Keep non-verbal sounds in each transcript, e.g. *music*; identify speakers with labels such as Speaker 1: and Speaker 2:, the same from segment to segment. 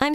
Speaker 1: I'm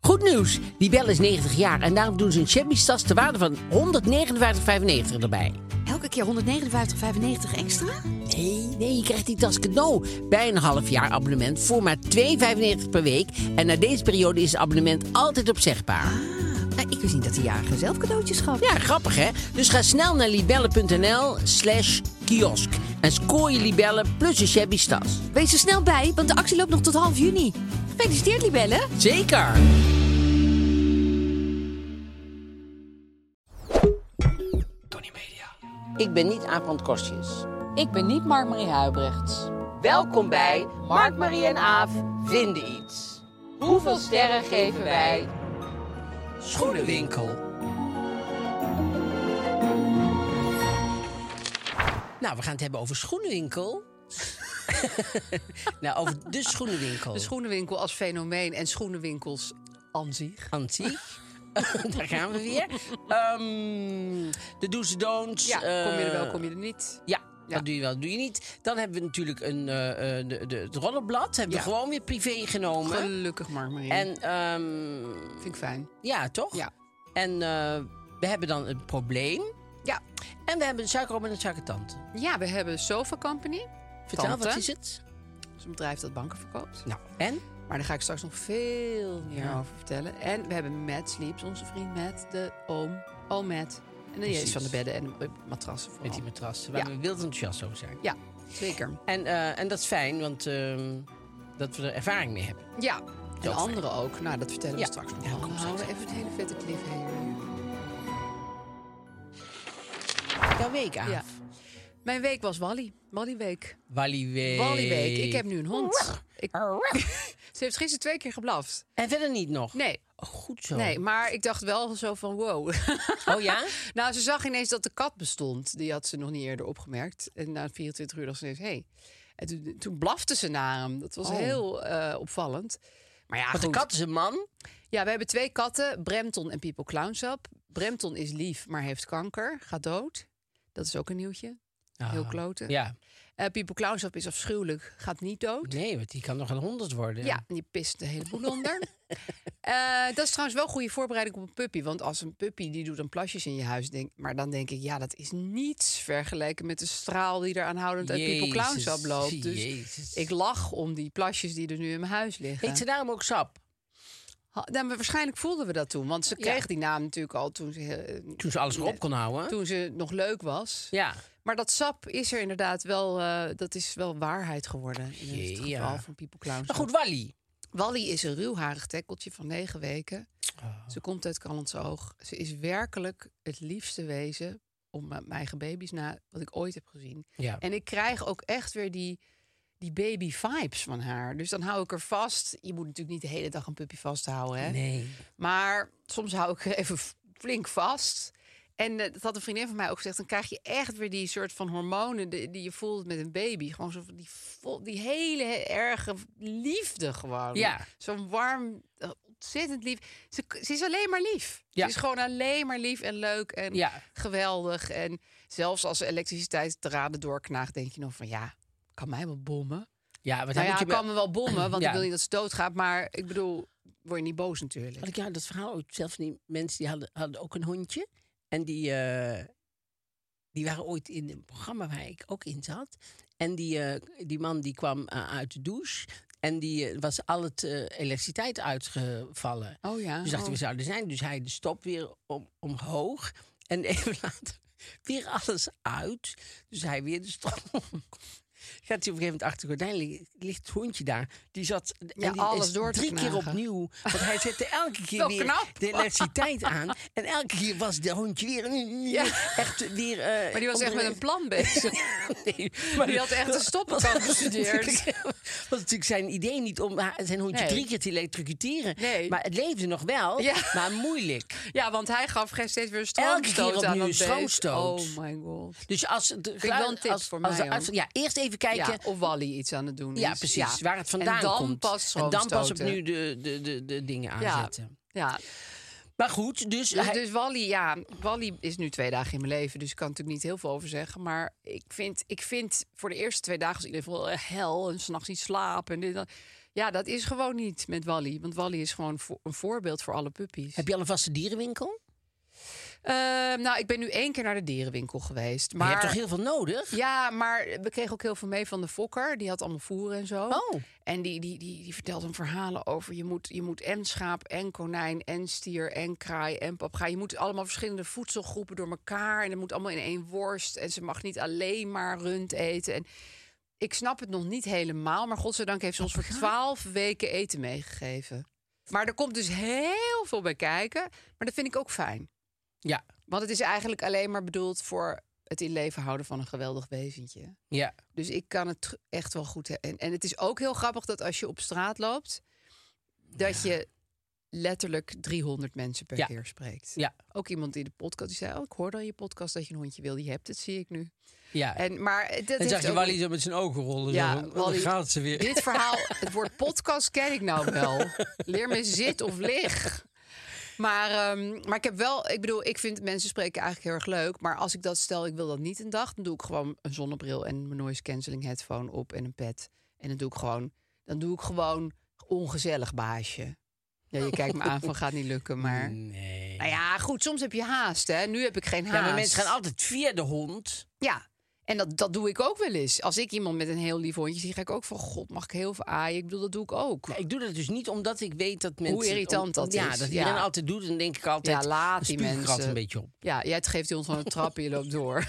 Speaker 2: Goed nieuws, die bel is 90 jaar en daarom doen ze een Chevy's tas te waarde van 159,95 erbij.
Speaker 3: Elke keer 159,95 extra?
Speaker 2: Nee, nee, je krijgt die tas cadeau bij een half jaar abonnement voor maar 2,95 per week. En na deze periode is het abonnement altijd opzegbaar.
Speaker 3: Nou, ik wist niet dat de jarige zelf cadeautjes gaf.
Speaker 2: Ja, grappig hè? Dus ga snel naar libellen.nl slash kiosk en scoor je libellen plus een Chevy's tas.
Speaker 3: Wees er snel bij, want de actie loopt nog tot half juni. Gefeliciteerd, Libelle.
Speaker 2: Zeker! Tony Media. Ik ben niet Aaf Kostjes.
Speaker 4: Ik ben niet Mark-Marie Huibrechts.
Speaker 2: Welkom bij Mark, Marie en Aaf vinden iets.
Speaker 4: Hoeveel sterren geven wij?
Speaker 2: Schoenenwinkel. Nou, we gaan het hebben over schoenenwinkel. *laughs* nou, over de schoenenwinkel.
Speaker 4: De schoenenwinkel als fenomeen en schoenenwinkels aan zich.
Speaker 2: Antiek. *laughs* Daar gaan we weer. Ehm, de do's en don'ts.
Speaker 4: Ja, kom je er wel,
Speaker 2: eh,
Speaker 4: kom je er niet.
Speaker 2: Ja,
Speaker 4: Ja.
Speaker 2: dat doe je wel, dat doe je niet. Dan hebben we natuurlijk een, eh, eh, de, de, het rollenblad. Hebben we
Speaker 4: Ja.
Speaker 2: gewoon weer privé genomen.
Speaker 4: Gelukkig Mark-Marie.
Speaker 2: en ehm,
Speaker 4: Vind ik fijn.
Speaker 2: ja, toch?
Speaker 4: Ja.
Speaker 2: En eh, we hebben dan een probleem.
Speaker 4: Ja.
Speaker 2: En we hebben een suikeroom en een suikertante.
Speaker 4: ja, we hebben Sofa Company.
Speaker 2: Vertel,
Speaker 4: Tante.
Speaker 2: wat is het?
Speaker 4: Dat is een bedrijf dat banken verkoopt.
Speaker 2: Nou, en?
Speaker 4: Maar daar ga ik straks nog veel meer over vertellen. En we hebben Matt Sleeps, onze vriend Matt, de oom. Oom Matt. En die
Speaker 2: Precies.
Speaker 4: is van de bedden en de eh, matrassen vooral.
Speaker 2: Met die matrassen, waar
Speaker 4: Oh. Ja.
Speaker 2: we wild enthousiast over zijn.
Speaker 4: Ja, zeker.
Speaker 2: En, eh, en dat is fijn, want ehm, dat we er ervaring mee hebben.
Speaker 4: Ja, en
Speaker 2: fijn.
Speaker 4: anderen ook. Nou, dat vertellen
Speaker 2: Ja.
Speaker 4: we straks nog.
Speaker 2: Ja,
Speaker 4: wel.
Speaker 2: kom
Speaker 4: Dan
Speaker 2: straks
Speaker 4: houden we even een hele vette cliffhanger.
Speaker 2: Jouw week, Aaf.
Speaker 4: Ja. Mijn week was Wally. Wally-week.
Speaker 2: Wally week.
Speaker 4: Wally-week. Ik heb nu een hond. Ik...
Speaker 2: Oh,
Speaker 4: *laughs* Ze heeft gisteren twee keer geblaft.
Speaker 2: En verder niet nog?
Speaker 4: Nee,
Speaker 2: Oh, goed zo.
Speaker 4: nee, maar ik dacht wel zo van wow.
Speaker 2: Oh ja?
Speaker 4: *laughs* nou, ze zag ineens dat de kat bestond. Die had ze nog niet eerder opgemerkt. En na 24 uur dacht ze ineens, Hey. En toen, toen blafte ze naar hem. Dat was heel eh, opvallend. Maar ja,
Speaker 2: Want Oh. de
Speaker 4: goed.
Speaker 2: kat is een man.
Speaker 4: Ja, we hebben twee katten, Brempton en People Clownsap. Brempton is lief, maar heeft kanker, gaat dood. Dat is ook een nieuwtje.
Speaker 2: Ah.
Speaker 4: Heel kloten.
Speaker 2: Ja.
Speaker 4: Eh, People Clownsap is afschuwelijk, gaat niet dood.
Speaker 2: Nee, want die kan nog een honderd worden.
Speaker 4: Ja, en die pist een heleboel onder. *laughs* Eh, dat is trouwens wel goede voorbereiding op een puppy. Want als een puppy die doet dan plasjes in je huis, denk, maar dan denk ik, ja, dat is niets vergeleken met de straal die er aanhoudend uit People
Speaker 2: Jezus,
Speaker 4: Clownsap loopt. Dus
Speaker 2: Jezus.
Speaker 4: ik lach om die plasjes die er nu in mijn huis liggen.
Speaker 2: Heet ze daarom ook sap?
Speaker 4: Ha- nou, maar waarschijnlijk voelden we dat toen. Want ze kreeg
Speaker 2: Ja.
Speaker 4: die naam natuurlijk al toen ze, eh,
Speaker 2: Toen ze alles erop kon houden.
Speaker 4: toen ze nog leuk was.
Speaker 2: Ja.
Speaker 4: Maar dat sap is er inderdaad wel, eh, dat is wel waarheid geworden. In het
Speaker 2: Ja.
Speaker 4: geval van People Clowns.
Speaker 2: Maar goed, Wally.
Speaker 4: Wally is een ruwharig tekkeltje van negen weken.
Speaker 2: Oh.
Speaker 4: Ze komt uit Callens Oog. Ze is werkelijk het liefste wezen om eh, mijn eigen baby's na wat ik ooit heb gezien.
Speaker 2: Ja.
Speaker 4: En ik krijg ook echt weer die, die baby vibes van haar. Dus dan hou ik er vast. Je moet natuurlijk niet de hele dag een puppy vasthouden.
Speaker 2: eh,
Speaker 4: Hè?
Speaker 2: Nee.
Speaker 4: Maar soms hou ik *laughs* er even f- flink vast. En eh, dat had een vriendin van mij ook gezegd. Dan krijg je echt weer die soort van hormonen die, die je voelt met een baby. Gewoon zo van die, vo- die hele erge liefde gewoon.
Speaker 2: Ja.
Speaker 4: Zo'n warm, eh, ontzettend lief. Ze, k- ze is alleen maar lief.
Speaker 2: Ja.
Speaker 4: Ze is gewoon alleen maar lief en leuk en
Speaker 2: Ja.
Speaker 4: geweldig. En zelfs als de elektriciteit de raden doorknaagt, denk je nog van ja, kan mij wel bommen.
Speaker 2: Ja, wat
Speaker 4: Nou ja,
Speaker 2: je
Speaker 4: ik kan me wel bommen,
Speaker 2: *clears throat*
Speaker 4: want
Speaker 2: Ja.
Speaker 4: ik wil niet dat ze doodgaat. Maar ik bedoel, word je niet boos natuurlijk.
Speaker 2: Had ik jou dat verhaal ooit zelf van die mensen die hadden, hadden ook een hondje. En die, eh, die waren ooit in een programma waar ik ook in zat. En die, eh, die man die kwam eh, uit de douche. En die eh, was al het eh, elektriciteit uitgevallen.
Speaker 4: Oh ja.
Speaker 2: Dus dachten we
Speaker 4: Oh.
Speaker 2: zouden zijn. Dus hij de stop weer om, omhoog. *laughs* En even later weer alles uit. Dus hij weer de stop. *laughs* omhoog. Gaat hij op een gegeven moment achter de gordijn liggen, ligt het hondje daar. Die zat
Speaker 4: Ja,
Speaker 2: en die
Speaker 4: alles
Speaker 2: is
Speaker 4: door te
Speaker 2: drie keer
Speaker 4: knagen.
Speaker 2: opnieuw. Want hij zette elke keer
Speaker 4: *laughs* Wel
Speaker 2: weer
Speaker 4: knap.
Speaker 2: de elektriciteit aan. En elke keer was de hondje weer... eh, Echt weer eh,
Speaker 4: Maar die was echt met een plan bezig.
Speaker 2: *laughs* nee,
Speaker 4: Die had echt een
Speaker 2: *laughs*
Speaker 4: stoppenkant bestudeerd.
Speaker 2: was natuurlijk zijn idee niet om haar- zijn hondje
Speaker 4: Nee.
Speaker 2: drie keer te elektrocuteren.
Speaker 4: Nee.
Speaker 2: Maar het leefde nog wel,
Speaker 4: Ja.
Speaker 2: maar moeilijk.
Speaker 4: Ja, want hij gaf ge- steeds weer een
Speaker 2: Elke keer
Speaker 4: stroomstoot aan
Speaker 2: opnieuw
Speaker 4: dat
Speaker 2: een stroomstoot.
Speaker 4: beest. Oh my god.
Speaker 2: Dus als het
Speaker 4: ik wel een tip
Speaker 2: als,
Speaker 4: voor
Speaker 2: als
Speaker 4: mij,
Speaker 2: de arts-
Speaker 4: hoor.
Speaker 2: ja, eerst even kijken.
Speaker 4: Ja, of Wally iets aan het doen
Speaker 2: eh, Ja,
Speaker 4: is.
Speaker 2: precies.
Speaker 4: Ja.
Speaker 2: Waar het vandaan
Speaker 4: en dan
Speaker 2: komt.
Speaker 4: Pas
Speaker 2: en dan pas
Speaker 4: stroomstoten.
Speaker 2: opnieuw de, de, de, de dingen
Speaker 4: Ja,
Speaker 2: aanzetten.
Speaker 4: ja.
Speaker 2: Maar goed, dus,
Speaker 4: Dus,
Speaker 2: hij-
Speaker 4: dus Wally, ja, Wally is nu twee dagen in mijn leven, dus ik kan natuurlijk niet heel veel over zeggen. Maar ik vind, ik vind voor de eerste twee dagen was in ieder geval eh, hel en s'nachts niet slapen. En dit, en dat. Ja, dat is gewoon niet met Wally, want Wally is gewoon vo- een voorbeeld voor alle puppies.
Speaker 2: heb je al een vaste dierenwinkel?
Speaker 4: Ehm, nou, ik ben nu één keer naar de dierenwinkel geweest.
Speaker 2: Maar
Speaker 4: Maar
Speaker 2: je hebt toch heel veel nodig?
Speaker 4: *laughs* Ja, maar we kregen ook heel veel mee van de fokker. Die had allemaal voeren en zo.
Speaker 2: Oh.
Speaker 4: En die, die, die, die vertelde hem verhalen over... Je moet, je moet en schaap, en konijn, en stier, en kraai, en papegaai. Je moet allemaal verschillende voedselgroepen door elkaar. En dat moet allemaal in één worst. En ze mag niet alleen maar rund eten. En ik snap het nog niet helemaal. Maar godzijdank heeft ze ons voor twaalf weken eten meegegeven. Maar er komt dus heel veel bij kijken. Maar dat vind ik ook fijn.
Speaker 2: Ja.
Speaker 4: Want het is eigenlijk alleen maar bedoeld voor het in leven houden van een geweldig wezentje.
Speaker 2: ja.
Speaker 4: Dus ik kan het tr- echt wel goed. he- En, en het is ook heel grappig dat als je op straat loopt, dat je letterlijk 300 mensen per
Speaker 2: Ja.
Speaker 4: keer spreekt.
Speaker 2: Ja.
Speaker 4: Ook iemand in de podcast die zei: Oh, ik hoorde al in je podcast dat je een hondje wil. Je hebt het, zie ik nu.
Speaker 2: ja. En,
Speaker 4: En maar eh, dat
Speaker 2: dan
Speaker 4: heeft
Speaker 2: zag je
Speaker 4: ook-
Speaker 2: Wally zo met zijn ogen rollen.
Speaker 4: Ja,
Speaker 2: zo. van,
Speaker 4: Wally,
Speaker 2: dan gaat ze weer.
Speaker 4: Dit verhaal, het woord podcast ken ik nou wel. Leer me zit of lig. Maar, ehm, maar ik heb wel, ik bedoel, ik vind mensen spreken eigenlijk heel erg leuk. Maar als ik dat stel, ik wil dat niet een dag, dan doe ik gewoon een zonnebril en mijn noise cancelling headphone op en een pet. En dan doe ik gewoon, dan doe ik gewoon ongezellig baasje. Ja, je kijkt me aan van gaat niet lukken,
Speaker 2: *laughs*
Speaker 4: maar.
Speaker 2: Nee.
Speaker 4: Nou ja, goed, soms heb je haast, hè? Nu heb ik geen haast.
Speaker 2: Ja, maar mensen gaan altijd via de hond.
Speaker 4: Ja, en dat, dat doe ik ook wel eens. Als ik iemand met een heel lief hondje zie, ga ik ook van... God, mag ik heel veel aaien? Ik bedoel, dat doe ik ook.
Speaker 2: Ja, ik doe dat dus niet omdat ik weet dat mensen...
Speaker 4: irritant dat
Speaker 2: ja,
Speaker 4: is,
Speaker 2: dat
Speaker 4: ja.
Speaker 2: iedereen altijd doet. Dan denk ik altijd,
Speaker 4: Ja, laat
Speaker 2: dan
Speaker 4: die
Speaker 2: spuug ik er
Speaker 4: mensen.
Speaker 2: altijd een beetje op.
Speaker 4: Ja, jij geeft die hond van een trap en je loopt
Speaker 2: *laughs*
Speaker 4: door.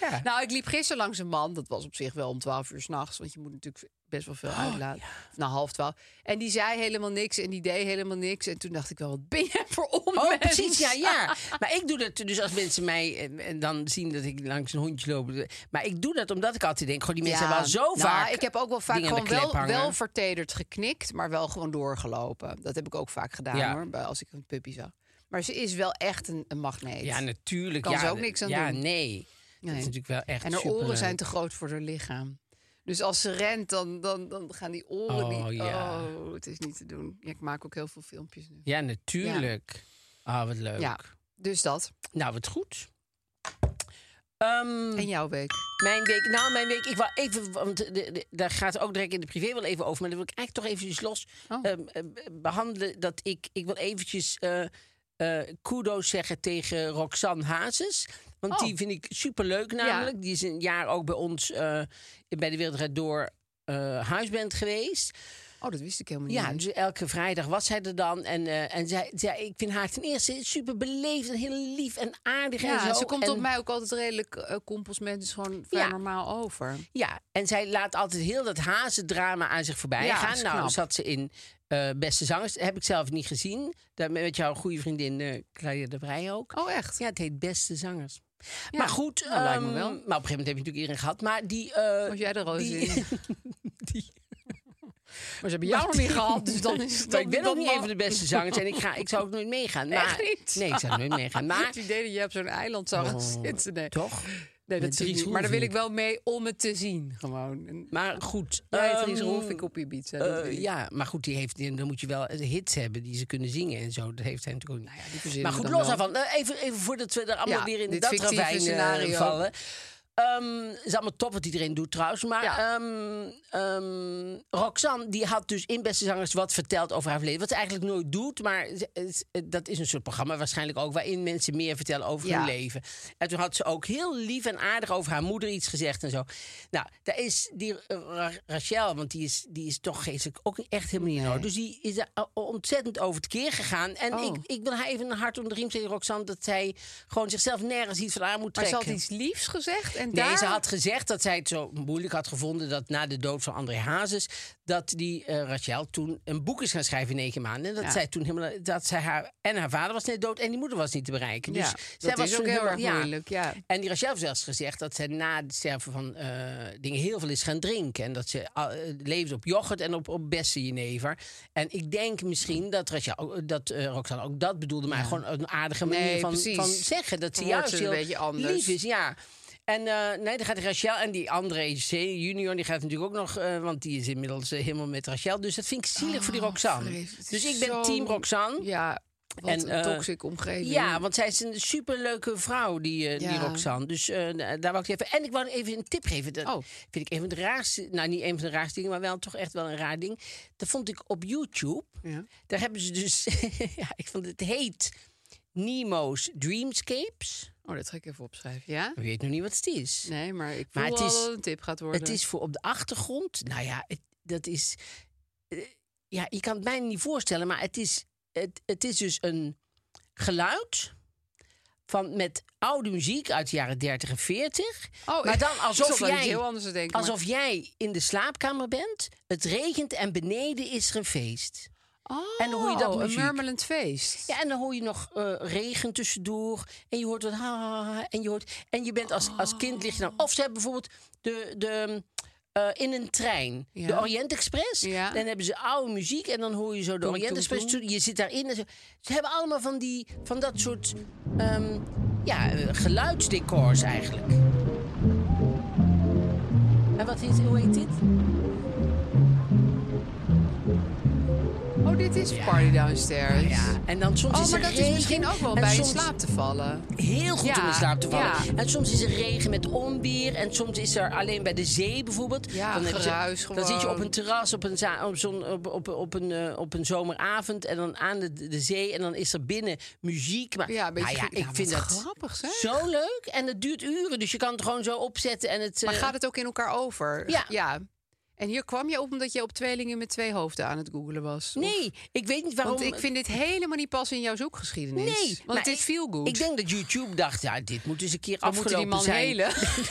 Speaker 2: Ja.
Speaker 4: Nou, ik liep gisteren langs een man. Dat was op zich wel om 12 uur s'nachts. Want je moet natuurlijk best wel
Speaker 2: Oh,
Speaker 4: veel uitlaten. Na half twaalf. En die zei helemaal niks en die deed helemaal niks. En toen dacht ik wel, wat ben jij voor onmens?
Speaker 2: *laughs* Oh, precies, ja, *laughs* ja. Maar ik doe dat dus als mensen mij eh, en dan zien dat ik langs een hondje loop. eh, Maar ik doe dat omdat ik altijd denk, goh, die mensen hebben al zo
Speaker 4: nou,
Speaker 2: vaak
Speaker 4: Ik heb ook wel vaak
Speaker 2: dingen aan de
Speaker 4: gewoon wel,
Speaker 2: klep hangen.
Speaker 4: wel vertederd geknikt, maar wel gewoon doorgelopen. Dat heb ik ook vaak gedaan
Speaker 2: Ja.
Speaker 4: hoor, bij- als ik een puppy zag. Maar ze is wel echt een, een magneet.
Speaker 2: Ja, natuurlijk.
Speaker 4: Kan
Speaker 2: ja,
Speaker 4: ze ook niks aan
Speaker 2: ja,
Speaker 4: doen.
Speaker 2: nee. Dat is
Speaker 4: Nee.
Speaker 2: natuurlijk wel echt
Speaker 4: en haar oren
Speaker 2: superleuk.
Speaker 4: zijn te groot voor haar lichaam. Dus als ze rent, dan, dan, dan gaan die oren
Speaker 2: Oh,
Speaker 4: niet...
Speaker 2: ja.
Speaker 4: Oh, het is niet te doen. Ja, ik maak ook heel veel filmpjes nu.
Speaker 2: Ja, natuurlijk. Ah, wat leuk.
Speaker 4: Ja, dus dat.
Speaker 2: Nou, wat goed. Ehm,
Speaker 4: En jouw week.
Speaker 2: Mijn week, nou, mijn week. Ik wil even, want de, de- daar gaat ook direct in de privé wel even over. Maar dat wil ik eigenlijk toch eventjes los
Speaker 4: Oh.
Speaker 2: ehm, eh, behandelen. Dat ik, ik wil eventjes eh eh, kudo's zeggen tegen Roxanne Hazes. Want
Speaker 4: Oh.
Speaker 2: die vind ik superleuk namelijk. Die is een jaar ook bij ons eh, bij de Wereldraad Door eh, huisband geweest.
Speaker 4: Oh, dat wist ik helemaal
Speaker 2: Ja,
Speaker 4: niet.
Speaker 2: dus elke vrijdag was zij er dan. En, eh, en zij, zij, ik vind haar ten eerste super beleefd en heel lief en aardig. en
Speaker 4: Ja,
Speaker 2: zo.
Speaker 4: ze komt
Speaker 2: en,
Speaker 4: op mij ook altijd redelijk eh kompelsment. is gewoon vrij
Speaker 2: Ja.
Speaker 4: normaal over.
Speaker 2: Ja, en zij laat altijd heel dat hazendrama aan zich voorbij
Speaker 4: Ja,
Speaker 2: gaan.
Speaker 4: is
Speaker 2: Nou,
Speaker 4: knap.
Speaker 2: zat ze in eh, Beste Zangers. Heb ik zelf niet gezien. Daar met jouw goede vriendin eh Claudia de Vrij ook.
Speaker 4: Oh, echt?
Speaker 2: Ja, het heet Beste Zangers.
Speaker 4: Ja,
Speaker 2: maar goed,
Speaker 4: nou, lijkt me
Speaker 2: ehm,
Speaker 4: wel.
Speaker 2: Maar op een gegeven moment heb je natuurlijk iedereen gehad. Maar die... eh,
Speaker 4: Was jij er al eens
Speaker 2: die- *laughs*
Speaker 4: in?
Speaker 2: die-
Speaker 4: Maar ze hebben jou nog niet gehad, dus dan is het
Speaker 2: Maar ik ben
Speaker 4: dan
Speaker 2: ook niet
Speaker 4: mag-
Speaker 2: even de beste zangers en ik, ga, ik zou ook nooit meegaan. Maar,
Speaker 4: *laughs* Echt niet?
Speaker 2: Nee, ik zou nooit
Speaker 4: *laughs*
Speaker 2: meegaan. Maar Oh,
Speaker 4: Het idee dat je op zo'n eiland zou gaan zitten. Nee,
Speaker 2: toch?
Speaker 4: nee
Speaker 2: Met
Speaker 4: dat zie ik
Speaker 2: Dries
Speaker 4: niet. Maar daar
Speaker 2: Roelvink.
Speaker 4: wil ik wel mee om het te zien, gewoon. En
Speaker 2: Maar goed.
Speaker 4: Jij,
Speaker 2: ehm,
Speaker 4: Dries Roelvink op je biet.
Speaker 2: eh, ja, maar goed, die heeft, dan moet je wel hits hebben die ze kunnen zingen en zo. Dat heeft hij natuurlijk ook nou niet.
Speaker 4: die verzinnen
Speaker 2: maar
Speaker 4: we
Speaker 2: goed,
Speaker 4: dan
Speaker 2: los
Speaker 4: wel.
Speaker 2: daarvan. Eh, Even, even voordat we er allemaal
Speaker 4: Ja,
Speaker 2: weer in
Speaker 4: dit
Speaker 2: dat
Speaker 4: fictieve
Speaker 2: ravijn scenario.
Speaker 4: scenario.
Speaker 2: vallen. Ehm, het is allemaal top wat iedereen doet trouwens. Maar
Speaker 4: Ja.
Speaker 2: ehm, ehm, Roxanne die had dus in Beste Zangers wat verteld over haar verleden. Wat ze eigenlijk nooit doet. Maar ze- het- het- dat is een soort programma waarschijnlijk ook. Waarin mensen meer vertellen over
Speaker 4: Ja.
Speaker 2: hun leven. En toen had ze ook heel lief en aardig over haar moeder iets gezegd en zo. Nou, daar is die eh, Ra- Rachel, want die is, die is toch geestelijk ook echt helemaal niet in orde. Dus die is er eh, ontzettend over het keer gegaan. En
Speaker 4: Oh.
Speaker 2: ik, ik wil haar even een hart om de riem zetten, Roxanne. Dat zij gewoon zichzelf nergens iets van aan moet
Speaker 4: Maar ze
Speaker 2: trekken.
Speaker 4: had iets liefs gezegd en En
Speaker 2: Nee,
Speaker 4: daar...
Speaker 2: ze had gezegd dat zij het zo moeilijk had gevonden dat na de dood van André Hazes, dat die eh, Rachel toen een boek is gaan schrijven in negen maanden. En dat
Speaker 4: Ja.
Speaker 2: zij toen helemaal, dat zij haar, en haar vader was net dood en die moeder was niet te bereiken. Dus
Speaker 4: Ja,
Speaker 2: zij
Speaker 4: dat
Speaker 2: was
Speaker 4: is ook
Speaker 2: toen
Speaker 4: heel
Speaker 2: helemaal-
Speaker 4: erg moeilijk, ja.
Speaker 2: En die Rachel heeft zelfs gezegd dat ze na het sterven van eh, dingen heel veel is gaan drinken. En dat ze ah, eh, leefde op yoghurt en op, op bessenjenever. En ik denk misschien dat, Rachel, ook- dat eh, Roxanne ook dat bedoelde, maar gewoon een aardige manier
Speaker 4: Nee,
Speaker 2: van,
Speaker 4: precies.
Speaker 2: van zeggen. Dat ze
Speaker 4: Dan
Speaker 2: juist
Speaker 4: wordt ze een
Speaker 2: heel
Speaker 4: beetje anders.
Speaker 2: lief is, ja. En eh, nee, dan gaat Rachel en die André C. junior, die gaat natuurlijk ook nog, eh, want die is inmiddels eh, helemaal met Rachel. Dus dat vind ik zielig voor die Roxanne.
Speaker 4: vrees, Oh, het
Speaker 2: Dus
Speaker 4: is
Speaker 2: ik ben
Speaker 4: zo-
Speaker 2: team Roxanne.
Speaker 4: Ja, wat
Speaker 2: En,
Speaker 4: een
Speaker 2: eh,
Speaker 4: toxic omgeving.
Speaker 2: Ja, want zij is een superleuke vrouw, die, eh, die
Speaker 4: Ja.
Speaker 2: Roxanne. Dus eh, da- daar wou ik even... En ik wou even een tip geven. Dat
Speaker 4: Oh.
Speaker 2: vind ik een van de raarste... Nou, niet een van de raarste dingen, maar wel toch echt wel een raar ding. Dat vond ik op YouTube.
Speaker 4: Ja.
Speaker 2: Daar hebben ze dus... *laughs* ja, ik vond het heet Nemo's Dreamscapes.
Speaker 4: Oh, dat ga ik even opschrijven. Ja?
Speaker 2: Ik weet nog niet wat het is.
Speaker 4: Nee, maar ik voel
Speaker 2: Maar het
Speaker 4: al
Speaker 2: is-
Speaker 4: dat het een tip gaat worden.
Speaker 2: Het is voor op de achtergrond. Nou ja, het- dat is. eh, ja, je kan het bijna niet voorstellen, maar het is, het, het is dus een geluid. Van met oude muziek uit de jaren 30 en 40.
Speaker 4: Oh,
Speaker 2: maar
Speaker 4: ik-
Speaker 2: dan
Speaker 4: *laughs* ik
Speaker 2: alsof
Speaker 4: zat aan iets
Speaker 2: jij,
Speaker 4: heel anders te denken, maar-
Speaker 2: alsof jij in de slaapkamer bent. Het regent en beneden is er een feest.
Speaker 4: Oh,
Speaker 2: en dan hoor je dat
Speaker 4: een
Speaker 2: muziek.
Speaker 4: murmelend feest.
Speaker 2: Ja, en dan hoor je nog eh, regen tussendoor. En je hoort wat. ha, ha, ha, ha, en, je hoort, en je bent als, als kind lig je dan. Of ze hebben bijvoorbeeld de. de eh, in een trein,
Speaker 4: Ja.
Speaker 2: de Orient Express.
Speaker 4: Ja.
Speaker 2: Dan hebben ze oude muziek en dan hoor je zo de
Speaker 4: Toem,
Speaker 2: Orient
Speaker 4: toem,
Speaker 2: Express.
Speaker 4: toem.
Speaker 2: toe- Je zit daarin. En zo. Ze hebben allemaal van, die, van dat soort ehm, ja, eh, geluidsdecors eigenlijk. En wat heet, hoe heet dit?
Speaker 4: Oh, dit is Party Downstairs.
Speaker 2: Ja, en dan soms
Speaker 4: Oh,
Speaker 2: is
Speaker 4: maar
Speaker 2: er
Speaker 4: dat is
Speaker 2: regen
Speaker 4: misschien ook wel
Speaker 2: en
Speaker 4: bij in
Speaker 2: soms-
Speaker 4: slaap te vallen.
Speaker 2: heel goed om
Speaker 4: Ja,
Speaker 2: in slaap te vallen.
Speaker 4: ja.
Speaker 2: En soms is er regen met onweer. En soms is er alleen bij de zee bijvoorbeeld.
Speaker 4: Ja,
Speaker 2: hebben ze-
Speaker 4: geruis
Speaker 2: Dan zit je op
Speaker 4: gewoon.
Speaker 2: een terras op een, za- op zo'n- op, op, op een, eh, op een zomeravond. En dan aan de, de zee. En dan is er binnen muziek. Maar,
Speaker 4: Ja, een beetje
Speaker 2: nou ja,
Speaker 4: ge-
Speaker 2: ik
Speaker 4: ja,
Speaker 2: vind
Speaker 4: wat
Speaker 2: dat
Speaker 4: grappig, zeg.
Speaker 2: zo leuk. En het duurt uren. Dus je kan het gewoon zo opzetten. En het,
Speaker 4: Maar
Speaker 2: eh,
Speaker 4: gaat het ook in elkaar over?
Speaker 2: Ja.
Speaker 4: En hier kwam je op omdat je op tweelingen met twee hoofden aan het googelen was? Of-
Speaker 2: Nee, ik weet niet waarom.
Speaker 4: Want ik vind dit helemaal niet passen in jouw zoekgeschiedenis.
Speaker 2: Nee,
Speaker 4: Want
Speaker 2: maar
Speaker 4: het is
Speaker 2: ik-
Speaker 4: feel good.
Speaker 2: Ik denk dat YouTube dacht, ja, dit moet eens een keer
Speaker 4: We moeten
Speaker 2: afgelopen
Speaker 4: die man
Speaker 2: zijn.
Speaker 4: helen.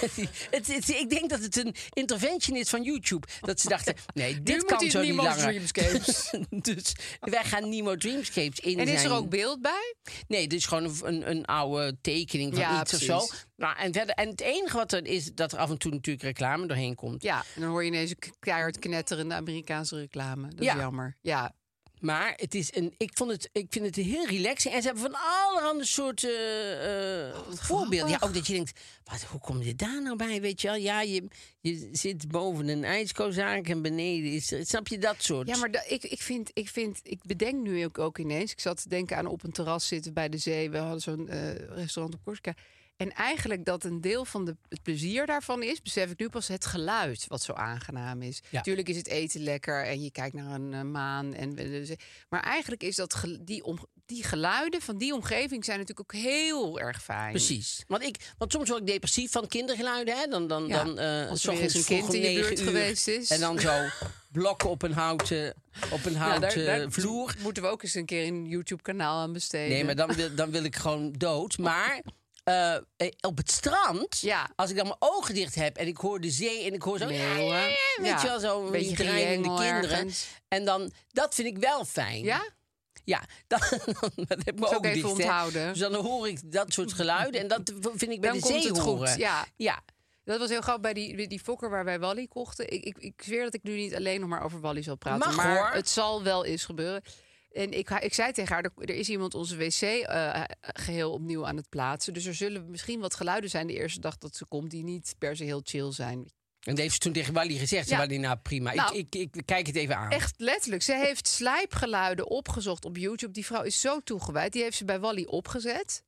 Speaker 2: *laughs* het, het- ik denk dat het een intervention is van YouTube. Dat ze dachten, nee, dit
Speaker 4: moet
Speaker 2: kan
Speaker 4: hij
Speaker 2: zo niet
Speaker 4: Nemo's
Speaker 2: langer.
Speaker 4: Dreamscapes.
Speaker 2: *laughs* dus wij gaan Nemo Dreamscapes in
Speaker 4: en is
Speaker 2: zijn-
Speaker 4: er ook beeld bij?
Speaker 2: Nee, dit is gewoon een, een oude tekening van
Speaker 4: Ja,
Speaker 2: iets of
Speaker 4: precies.
Speaker 2: zo. Nou, en, verder, en het enige wat er is, dat er af en toe natuurlijk reclame doorheen komt.
Speaker 4: Ja, en dan hoor je ineens een k- keihard knetterende Amerikaanse reclame. Dat
Speaker 2: Ja.
Speaker 4: is jammer. Ja,
Speaker 2: Maar het is een, ik, vond het, ik vind het heel relaxing. En ze hebben van allerhande soorten eh, eh, voorbeelden. Ja,
Speaker 4: grappig.
Speaker 2: ook dat je denkt, wat, hoe kom je daar nou bij? Weet je wel, ja, je, je zit boven een ijskozaak en beneden is... er- Snap je dat soort?
Speaker 4: ja maar da- ik, ik, vind, ik, vind, ik bedenk nu ook, ook ineens. Ik zat te denken aan op een terras zitten bij de zee. We hadden zo'n eh, restaurant op Corsica. En eigenlijk dat een deel van de, het plezier daarvan is, besef ik nu pas het geluid wat zo aangenaam is.
Speaker 2: Ja.
Speaker 4: Tuurlijk is het eten lekker en je kijkt naar een eh, maan. En, we- de zee. maar eigenlijk is dat gel- die, om, die geluiden van die omgeving zijn natuurlijk ook heel erg fijn.
Speaker 2: Precies. Want, ik, want soms word ik depressief van kindergeluiden. Hè? Dan, dan,
Speaker 4: Ja,
Speaker 2: dan eh,
Speaker 4: als er
Speaker 2: s ochtends
Speaker 4: weer eens een
Speaker 2: vroeg
Speaker 4: kind
Speaker 2: om
Speaker 4: in je
Speaker 2: negen
Speaker 4: buurt
Speaker 2: uur
Speaker 4: geweest is.
Speaker 2: En dan zo blokken op een houten, op een
Speaker 4: Ja, daar-
Speaker 2: houten
Speaker 4: daar
Speaker 2: eh, vloer.
Speaker 4: Moeten we ook eens een keer een YouTube-kanaal aan besteden?
Speaker 2: Nee, maar dan wil, dan wil ik gewoon dood. Maar eh, eh, op het strand,
Speaker 4: Ja.
Speaker 2: als ik dan mijn ogen dicht heb en ik hoor de zee en ik hoor zo.
Speaker 4: Meeuwen.
Speaker 2: Ja, ja, ja, weet
Speaker 4: Ja,
Speaker 2: je wel, zo
Speaker 4: een
Speaker 2: een
Speaker 4: beetje
Speaker 2: beetje dreinende
Speaker 4: triangel
Speaker 2: kinderen.
Speaker 4: ergens.
Speaker 2: En dan, dat vind ik wel fijn.
Speaker 4: Ja?
Speaker 2: Ja, *laughs* dan, dat heb ik me
Speaker 4: ook
Speaker 2: ook
Speaker 4: even
Speaker 2: dicht, hè.
Speaker 4: onthouden.
Speaker 2: Dus dan hoor ik dat soort geluiden en dat vind ik bij
Speaker 4: Dan
Speaker 2: de
Speaker 4: komt
Speaker 2: zee
Speaker 4: het goed,
Speaker 2: horen.
Speaker 4: ja.
Speaker 2: ja.
Speaker 4: Dat was heel grappig bij die, bij die fokker waar wij Wally kochten. Ik, ik, ik zweer dat ik nu niet alleen nog maar over Wally zal praten.
Speaker 2: Mag,
Speaker 4: maar
Speaker 2: hoor.
Speaker 4: het zal wel eens gebeuren. En ik, ik zei tegen haar, er, er is iemand onze wc eh, geheel opnieuw aan het plaatsen. Dus er zullen misschien wat geluiden zijn de eerste dag dat ze komt... die niet per se heel chill zijn.
Speaker 2: En dat heeft ze toen tegen Wally gezegd.
Speaker 4: Ja.
Speaker 2: Ja. Wally, nou prima.
Speaker 4: Nou.
Speaker 2: ik, ik, ik kijk het even aan.
Speaker 4: Echt letterlijk. Ze heeft slijpgeluiden opgezocht op YouTube. Die vrouw is zo toegewijd. Die heeft ze bij Wally opgezet.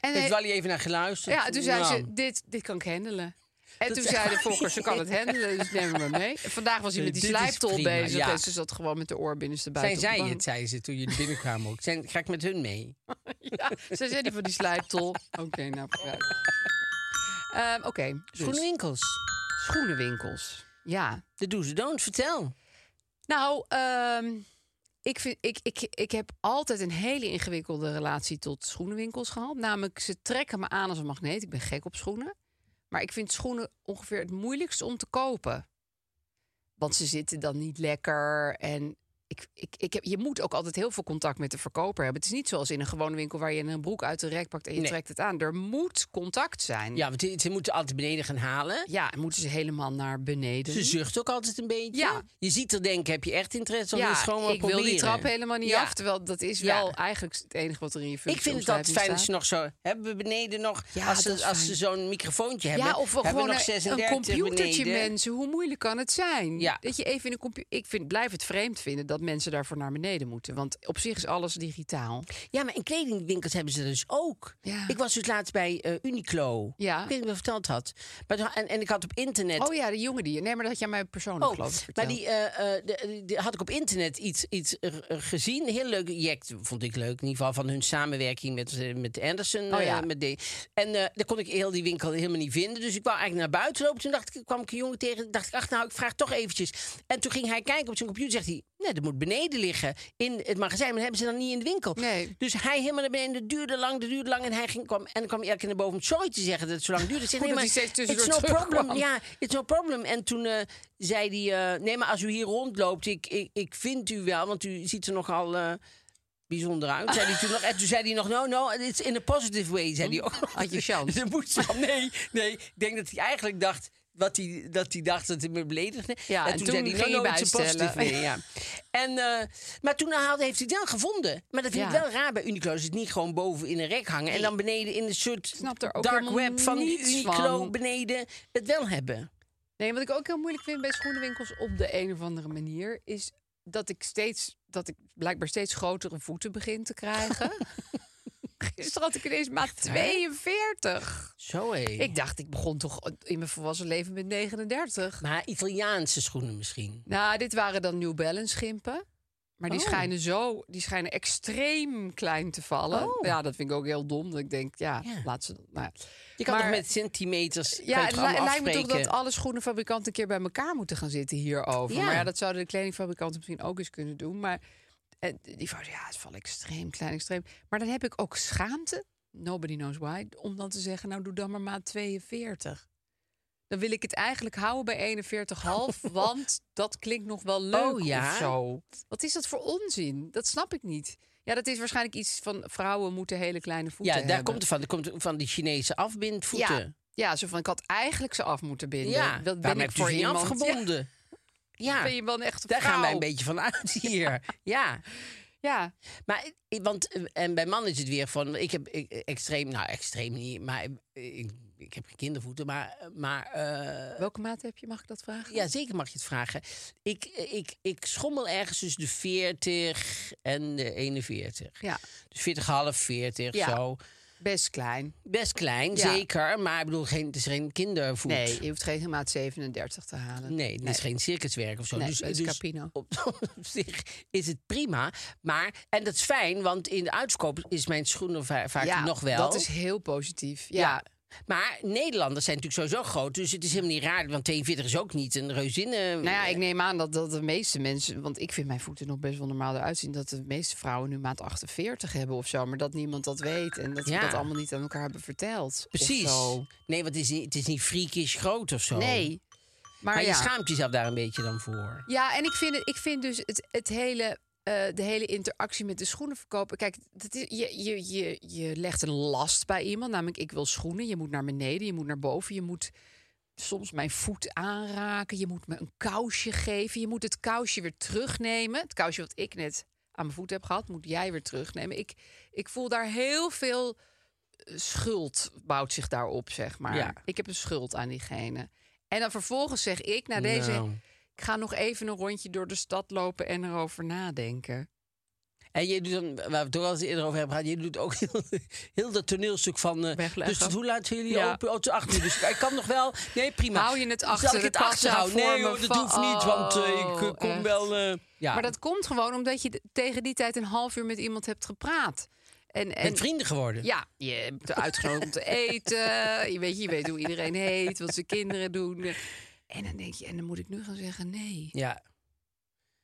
Speaker 4: En
Speaker 2: Heeft Wally even naar geluisterd?
Speaker 4: eh, Ja, toen zei
Speaker 2: Nou.
Speaker 4: ze, dit, dit kan ik handelen. En
Speaker 2: Dat
Speaker 4: toen
Speaker 2: zei-
Speaker 4: zei de fokker, ze kan het handelen, dus neem hem maar mee.
Speaker 2: *laughs*
Speaker 4: En Vandaag was hij
Speaker 2: Nee,
Speaker 4: met die
Speaker 2: dit is
Speaker 4: slijptol
Speaker 2: prima,
Speaker 4: bezig
Speaker 2: ja.
Speaker 4: en ze zat gewoon met de oorbinnenste
Speaker 2: Zijn
Speaker 4: buiten op
Speaker 2: zij
Speaker 4: de
Speaker 2: het, zei ze toen jullie binnenkwamen ook. Zijn, ga ik met hun mee?
Speaker 4: bank. Ja, zij zei die van die slijptol. Oké, nou vooruit.
Speaker 2: *laughs*
Speaker 4: Ehm, Oké, dus
Speaker 2: Schoenenwinkels.
Speaker 4: schoenenwinkels. Ja.
Speaker 2: De do's en don'ts, vertel.
Speaker 4: Nou, ehm, ik, vind, ik, ik, ik heb altijd een hele ingewikkelde relatie tot schoenenwinkels gehad. Namelijk, ze trekken me aan als een magneet. Ik ben gek op schoenen. Maar ik vind schoenen ongeveer het moeilijkst om te kopen. Want ze zitten dan niet lekker. En ik, ik, ik heb, je moet ook altijd heel veel contact met de verkoper hebben. Het is niet zoals in een gewone winkel waar je een broek uit de rek pakt en je
Speaker 2: Nee.
Speaker 4: trekt het aan. Er moet contact zijn.
Speaker 2: Ja, want ze- ze moeten altijd beneden gaan halen.
Speaker 4: Ja, en moeten ze helemaal naar beneden.
Speaker 2: Ze zucht ook altijd een beetje.
Speaker 4: Hm. Ja.
Speaker 2: Je ziet er denken, heb je echt interesse? Of is het gewoon maar
Speaker 4: ik
Speaker 2: proberen?
Speaker 4: wil die trap helemaal niet
Speaker 2: Ja.
Speaker 4: af. Terwijl dat is
Speaker 2: Ja.
Speaker 4: wel eigenlijk het enige wat er in je
Speaker 2: Ik vind het
Speaker 4: functieomschrijving
Speaker 2: altijd fijn dat
Speaker 4: staat.
Speaker 2: ze nog zo... Hebben we beneden nog...
Speaker 4: Ja,
Speaker 2: als
Speaker 4: dat is
Speaker 2: ze, als ze
Speaker 4: fijn.
Speaker 2: zo'n microfoontje hebben...
Speaker 4: Ja, of wel
Speaker 2: hebben we
Speaker 4: gewoon
Speaker 2: nog
Speaker 4: een,
Speaker 2: 36
Speaker 4: een computertje,
Speaker 2: beneden.
Speaker 4: mensen. Hoe moeilijk kan het zijn?
Speaker 2: Ja.
Speaker 4: Dat je even in een computer. Ik vind, blijf het vreemd vinden dat mensen daarvoor naar beneden moeten. Want op zich is alles digitaal.
Speaker 2: Ja, maar in kledingwinkels hebben ze dat dus ook.
Speaker 4: Ja.
Speaker 2: Ik was dus laatst bij eh, Uniqlo.
Speaker 4: Ja.
Speaker 2: Ik weet niet of ik dat verteld had. Maar, toen- en, en ik had op internet...
Speaker 4: Oh ja, de jongen die. Nee, maar dat had jij mij persoonlijk geloof ik
Speaker 2: Oh, maar
Speaker 4: verteld.
Speaker 2: die, eh, eh, de- de- had ik op internet iets, iets eh, eh, gezien. Een heel leuk project, vond ik leuk. In ieder geval van hun samenwerking met, eh, met Anderson.
Speaker 4: Oh ja.
Speaker 2: eh, met de, en eh daar kon ik heel die winkel helemaal niet vinden. Dus ik wou eigenlijk naar buiten lopen. Toen dacht ik, kwam ik een jongen tegen. dacht ik, ach nou, ik vraag toch eventjes. En toen ging hij kijken op zijn computer. Zegt hij, nee, dat moet beneden liggen in het magazijn. Maar dat hebben ze dan niet in de winkel.
Speaker 4: Nee.
Speaker 2: Dus hij helemaal naar beneden. Dat duurde lang, dat duurde lang. En hij ging, kwam, en dan kwam hij elke keer naar boven om sorry te zeggen dat het zo lang duurde. Ik zeg,
Speaker 4: Goed
Speaker 2: nee,
Speaker 4: dat
Speaker 2: maar
Speaker 4: hij steeds
Speaker 2: it's
Speaker 4: tussendoor
Speaker 2: no problem.
Speaker 4: terugkwam.
Speaker 2: Ja, it's no problem. En toen eh, zei hij, eh, nee, maar als u hier rondloopt, ik, ik, ik vind u wel, want u ziet er nogal eh, bijzonder uit. Zei hij toen nog, en toen zei hij nog, no, no, it's in a positive way, zei hij ook. nog.
Speaker 4: Hm?
Speaker 2: *laughs*
Speaker 4: Had je chance.
Speaker 2: Dat moest wel. Nee, nee, ik denk dat hij eigenlijk dacht... Wat hij, dat hij dacht dat hij me beledigde.
Speaker 4: Ja, en toen
Speaker 2: hij,
Speaker 4: ging
Speaker 2: no,
Speaker 4: hij
Speaker 2: no, it's a positive
Speaker 4: bijstellen. *laughs*
Speaker 2: way, ja. En, eh, maar toen haalde, heeft hij het wel gevonden. Maar dat vind ik
Speaker 4: Ja.
Speaker 2: wel raar bij Uniqlo. Ze het niet gewoon boven in een rek hangen. En dan beneden in een soort
Speaker 4: snap er ook
Speaker 2: dark
Speaker 4: helemaal
Speaker 2: web van
Speaker 4: niets
Speaker 2: Uniqlo
Speaker 4: van.
Speaker 2: beneden het wel hebben.
Speaker 4: Nee, wat ik ook heel moeilijk vind bij schoenenwinkels op de een of andere manier is dat ik steeds dat ik blijkbaar steeds grotere voeten begin te
Speaker 2: *laughs*
Speaker 4: krijgen. *laughs* Gisteren had ik ineens maat 42.
Speaker 2: Zo hé.
Speaker 4: Ik dacht, ik begon toch in mijn volwassen leven met 39.
Speaker 2: Maar Italiaanse schoenen misschien.
Speaker 4: Nou, dit waren dan New Balance schimpen. Maar die
Speaker 2: Oh.
Speaker 4: schijnen zo, die schijnen extreem klein te vallen.
Speaker 2: Oh.
Speaker 4: Ja, dat vind ik ook heel dom. Dat ik denk, ja,
Speaker 2: Ja.
Speaker 4: laat ze. Nou, ja.
Speaker 2: Je kan toch
Speaker 4: Maar-
Speaker 2: met centimeters
Speaker 4: Ja, het li- lijkt me
Speaker 2: afspreken.
Speaker 4: toch dat alle schoenenfabrikanten een keer bij elkaar moeten gaan zitten hierover.
Speaker 2: Ja.
Speaker 4: Maar ja, dat zouden de kledingfabrikanten misschien ook eens kunnen doen. Maar eh, die van, ja, het valt extreem klein, extreem. Maar dan heb ik ook schaamte, nobody knows why, om dan te zeggen, nou doe dan maar maat 42. Dan wil ik het eigenlijk houden bij
Speaker 2: *laughs*
Speaker 4: 41,5, want dat klinkt nog wel leuk
Speaker 2: Oh, ja?
Speaker 4: of zo. Wat is dat voor onzin? Dat snap ik niet. Ja, dat is waarschijnlijk iets van vrouwen moeten hele kleine voeten
Speaker 2: Ja, daar
Speaker 4: hebben.
Speaker 2: komt het van. Dat komt van die Chinese afbindvoeten.
Speaker 4: Ja, ja, zo van ik had eigenlijk ze af moeten binden.
Speaker 2: Ja,
Speaker 4: dat ben
Speaker 2: waarom
Speaker 4: ik
Speaker 2: heb je
Speaker 4: voor
Speaker 2: ze niet
Speaker 4: iemand. Ja,
Speaker 2: afgebonden? Ja,
Speaker 4: ben je wel echt een
Speaker 2: daar gaan wij
Speaker 4: vrouw.
Speaker 2: een beetje van uit hier.
Speaker 4: *laughs*
Speaker 2: ja.
Speaker 4: Ja,
Speaker 2: Maar, eh, want, eh, en bij mannen is het weer van, ik heb eh, extreem, nou extreem niet, maar eh, ik, ik heb geen kindervoeten, maar, maar eh,
Speaker 4: welke maat heb je? Mag ik dat vragen?
Speaker 2: Ja, zeker mag je het vragen. Ik, ik, ik schommel ergens tussen de 40 en de 41.
Speaker 4: Ja,
Speaker 2: Dus 40, half 40,
Speaker 4: Ja.
Speaker 2: zo.
Speaker 4: best klein.
Speaker 2: Best klein,
Speaker 4: Ja.
Speaker 2: zeker. Maar ik bedoel, geen, het is geen kindervoet.
Speaker 4: Nee, je hoeft geen maat 37 te halen.
Speaker 2: Nee, het is geen circuswerk of zo.
Speaker 4: Nee,
Speaker 2: dus,
Speaker 4: het is
Speaker 2: dus
Speaker 4: Capino.
Speaker 2: Op, *laughs* op zich is het prima. Maar, en dat is fijn, want in de uitverkoop is mijn schoenen va- vaak
Speaker 4: ja,
Speaker 2: nog wel.
Speaker 4: Dat is heel positief. Ja,
Speaker 2: Ja. Maar Nederlanders zijn natuurlijk sowieso groot. Dus het is helemaal niet raar, want 42 is ook niet een reuzinnen.
Speaker 4: Nou ja, ik neem aan dat, dat de meeste mensen, want ik vind mijn voeten nog best wel normaal eruit zien, dat de meeste vrouwen nu maat 48 hebben of zo, maar dat niemand dat weet en dat
Speaker 2: Ja.
Speaker 4: we dat allemaal niet aan elkaar hebben verteld. of
Speaker 2: Precies. Oh.
Speaker 4: zo.
Speaker 2: Nee, want het is, niet- het is niet freakish groot of zo.
Speaker 4: Nee. Maar,
Speaker 2: Maar
Speaker 4: ja.
Speaker 2: je schaamt jezelf daar een beetje dan voor.
Speaker 4: Ja, en ik vind, het, ik vind dus het, het hele, eh, de hele interactie met de schoenenverkoper. Kijk, dat is, je, je, je, je legt een last bij iemand. Namelijk, ik wil schoenen. Je moet naar beneden, je moet naar boven. Je moet soms mijn voet aanraken. Je moet me een kousje geven. Je moet het kousje weer terugnemen. Het kousje wat ik net aan mijn voet heb gehad, moet jij weer terugnemen. Ik, ik voel daar heel veel eh, schuld bouwt zich daarop, zeg maar.
Speaker 2: Ja.
Speaker 4: Ik heb een schuld aan diegene. En dan vervolgens zeg ik na deze...
Speaker 2: Nou.
Speaker 4: Ik ga nog even een rondje door de stad lopen en erover nadenken.
Speaker 2: En je doet dan, waar we het ook al eens eerder over hebben gehad, je doet ook heel, heel dat toneelstuk van. eh,
Speaker 4: Wegleggen.
Speaker 2: Dus tot hoe laat zijn jullie
Speaker 4: Ja.
Speaker 2: open? Oh, tot acht uur. Dus ik kan nog wel. Nee, prima.
Speaker 4: Hou je het achter
Speaker 2: Zal ik
Speaker 4: de
Speaker 2: het achter
Speaker 4: kassa
Speaker 2: houden?
Speaker 4: voor
Speaker 2: Nee,
Speaker 4: me
Speaker 2: hoor, dat
Speaker 4: van-
Speaker 2: hoeft niet, want eh, ik eh,
Speaker 4: Oh,
Speaker 2: kom
Speaker 4: echt.
Speaker 2: wel. eh, ja.
Speaker 4: Maar dat komt gewoon omdat je d- tegen die tijd een half uur met iemand hebt gepraat. En, en
Speaker 2: Met vrienden geworden.
Speaker 4: ja, je hebt
Speaker 2: *laughs*
Speaker 4: uitgenodigd om te eten. Je weet, je weet hoe iedereen heet, wat zijn kinderen doen. En dan denk je, en dan moet ik nu gaan zeggen nee.
Speaker 2: Ja.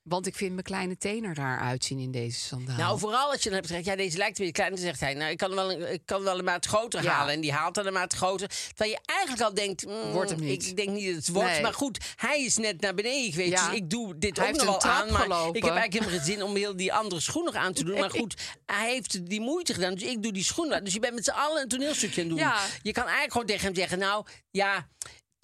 Speaker 4: Want ik vind mijn kleine tenen raar uitzien in deze sandaal.
Speaker 2: Nou, vooral als je dan hebt gezegd, ja, deze lijkt weer klein. Dan zegt hij, nou, ik kan wel een, ik kan wel een maat groter
Speaker 4: Ja.
Speaker 2: halen. En die haalt dan een maat groter. Terwijl je eigenlijk al denkt, mm,
Speaker 4: Wordt hem niet.
Speaker 2: ik denk niet dat het wordt.
Speaker 4: Nee.
Speaker 2: maar goed, hij is net naar beneden geweest.
Speaker 4: Ja.
Speaker 2: Dus ik doe dit
Speaker 4: Hij
Speaker 2: ook nog
Speaker 4: heeft
Speaker 2: wel
Speaker 4: een
Speaker 2: aan.
Speaker 4: trap
Speaker 2: Maar
Speaker 4: gelopen.
Speaker 2: ik heb eigenlijk helemaal geen zin om heel die andere schoen nog aan te doen. Maar goed, hij heeft die moeite gedaan. Dus ik doe die schoenen. Dus je bent met z'n allen een toneelstukje aan het doen.
Speaker 4: Ja.
Speaker 2: Je kan eigenlijk gewoon tegen hem zeggen, nou, ja...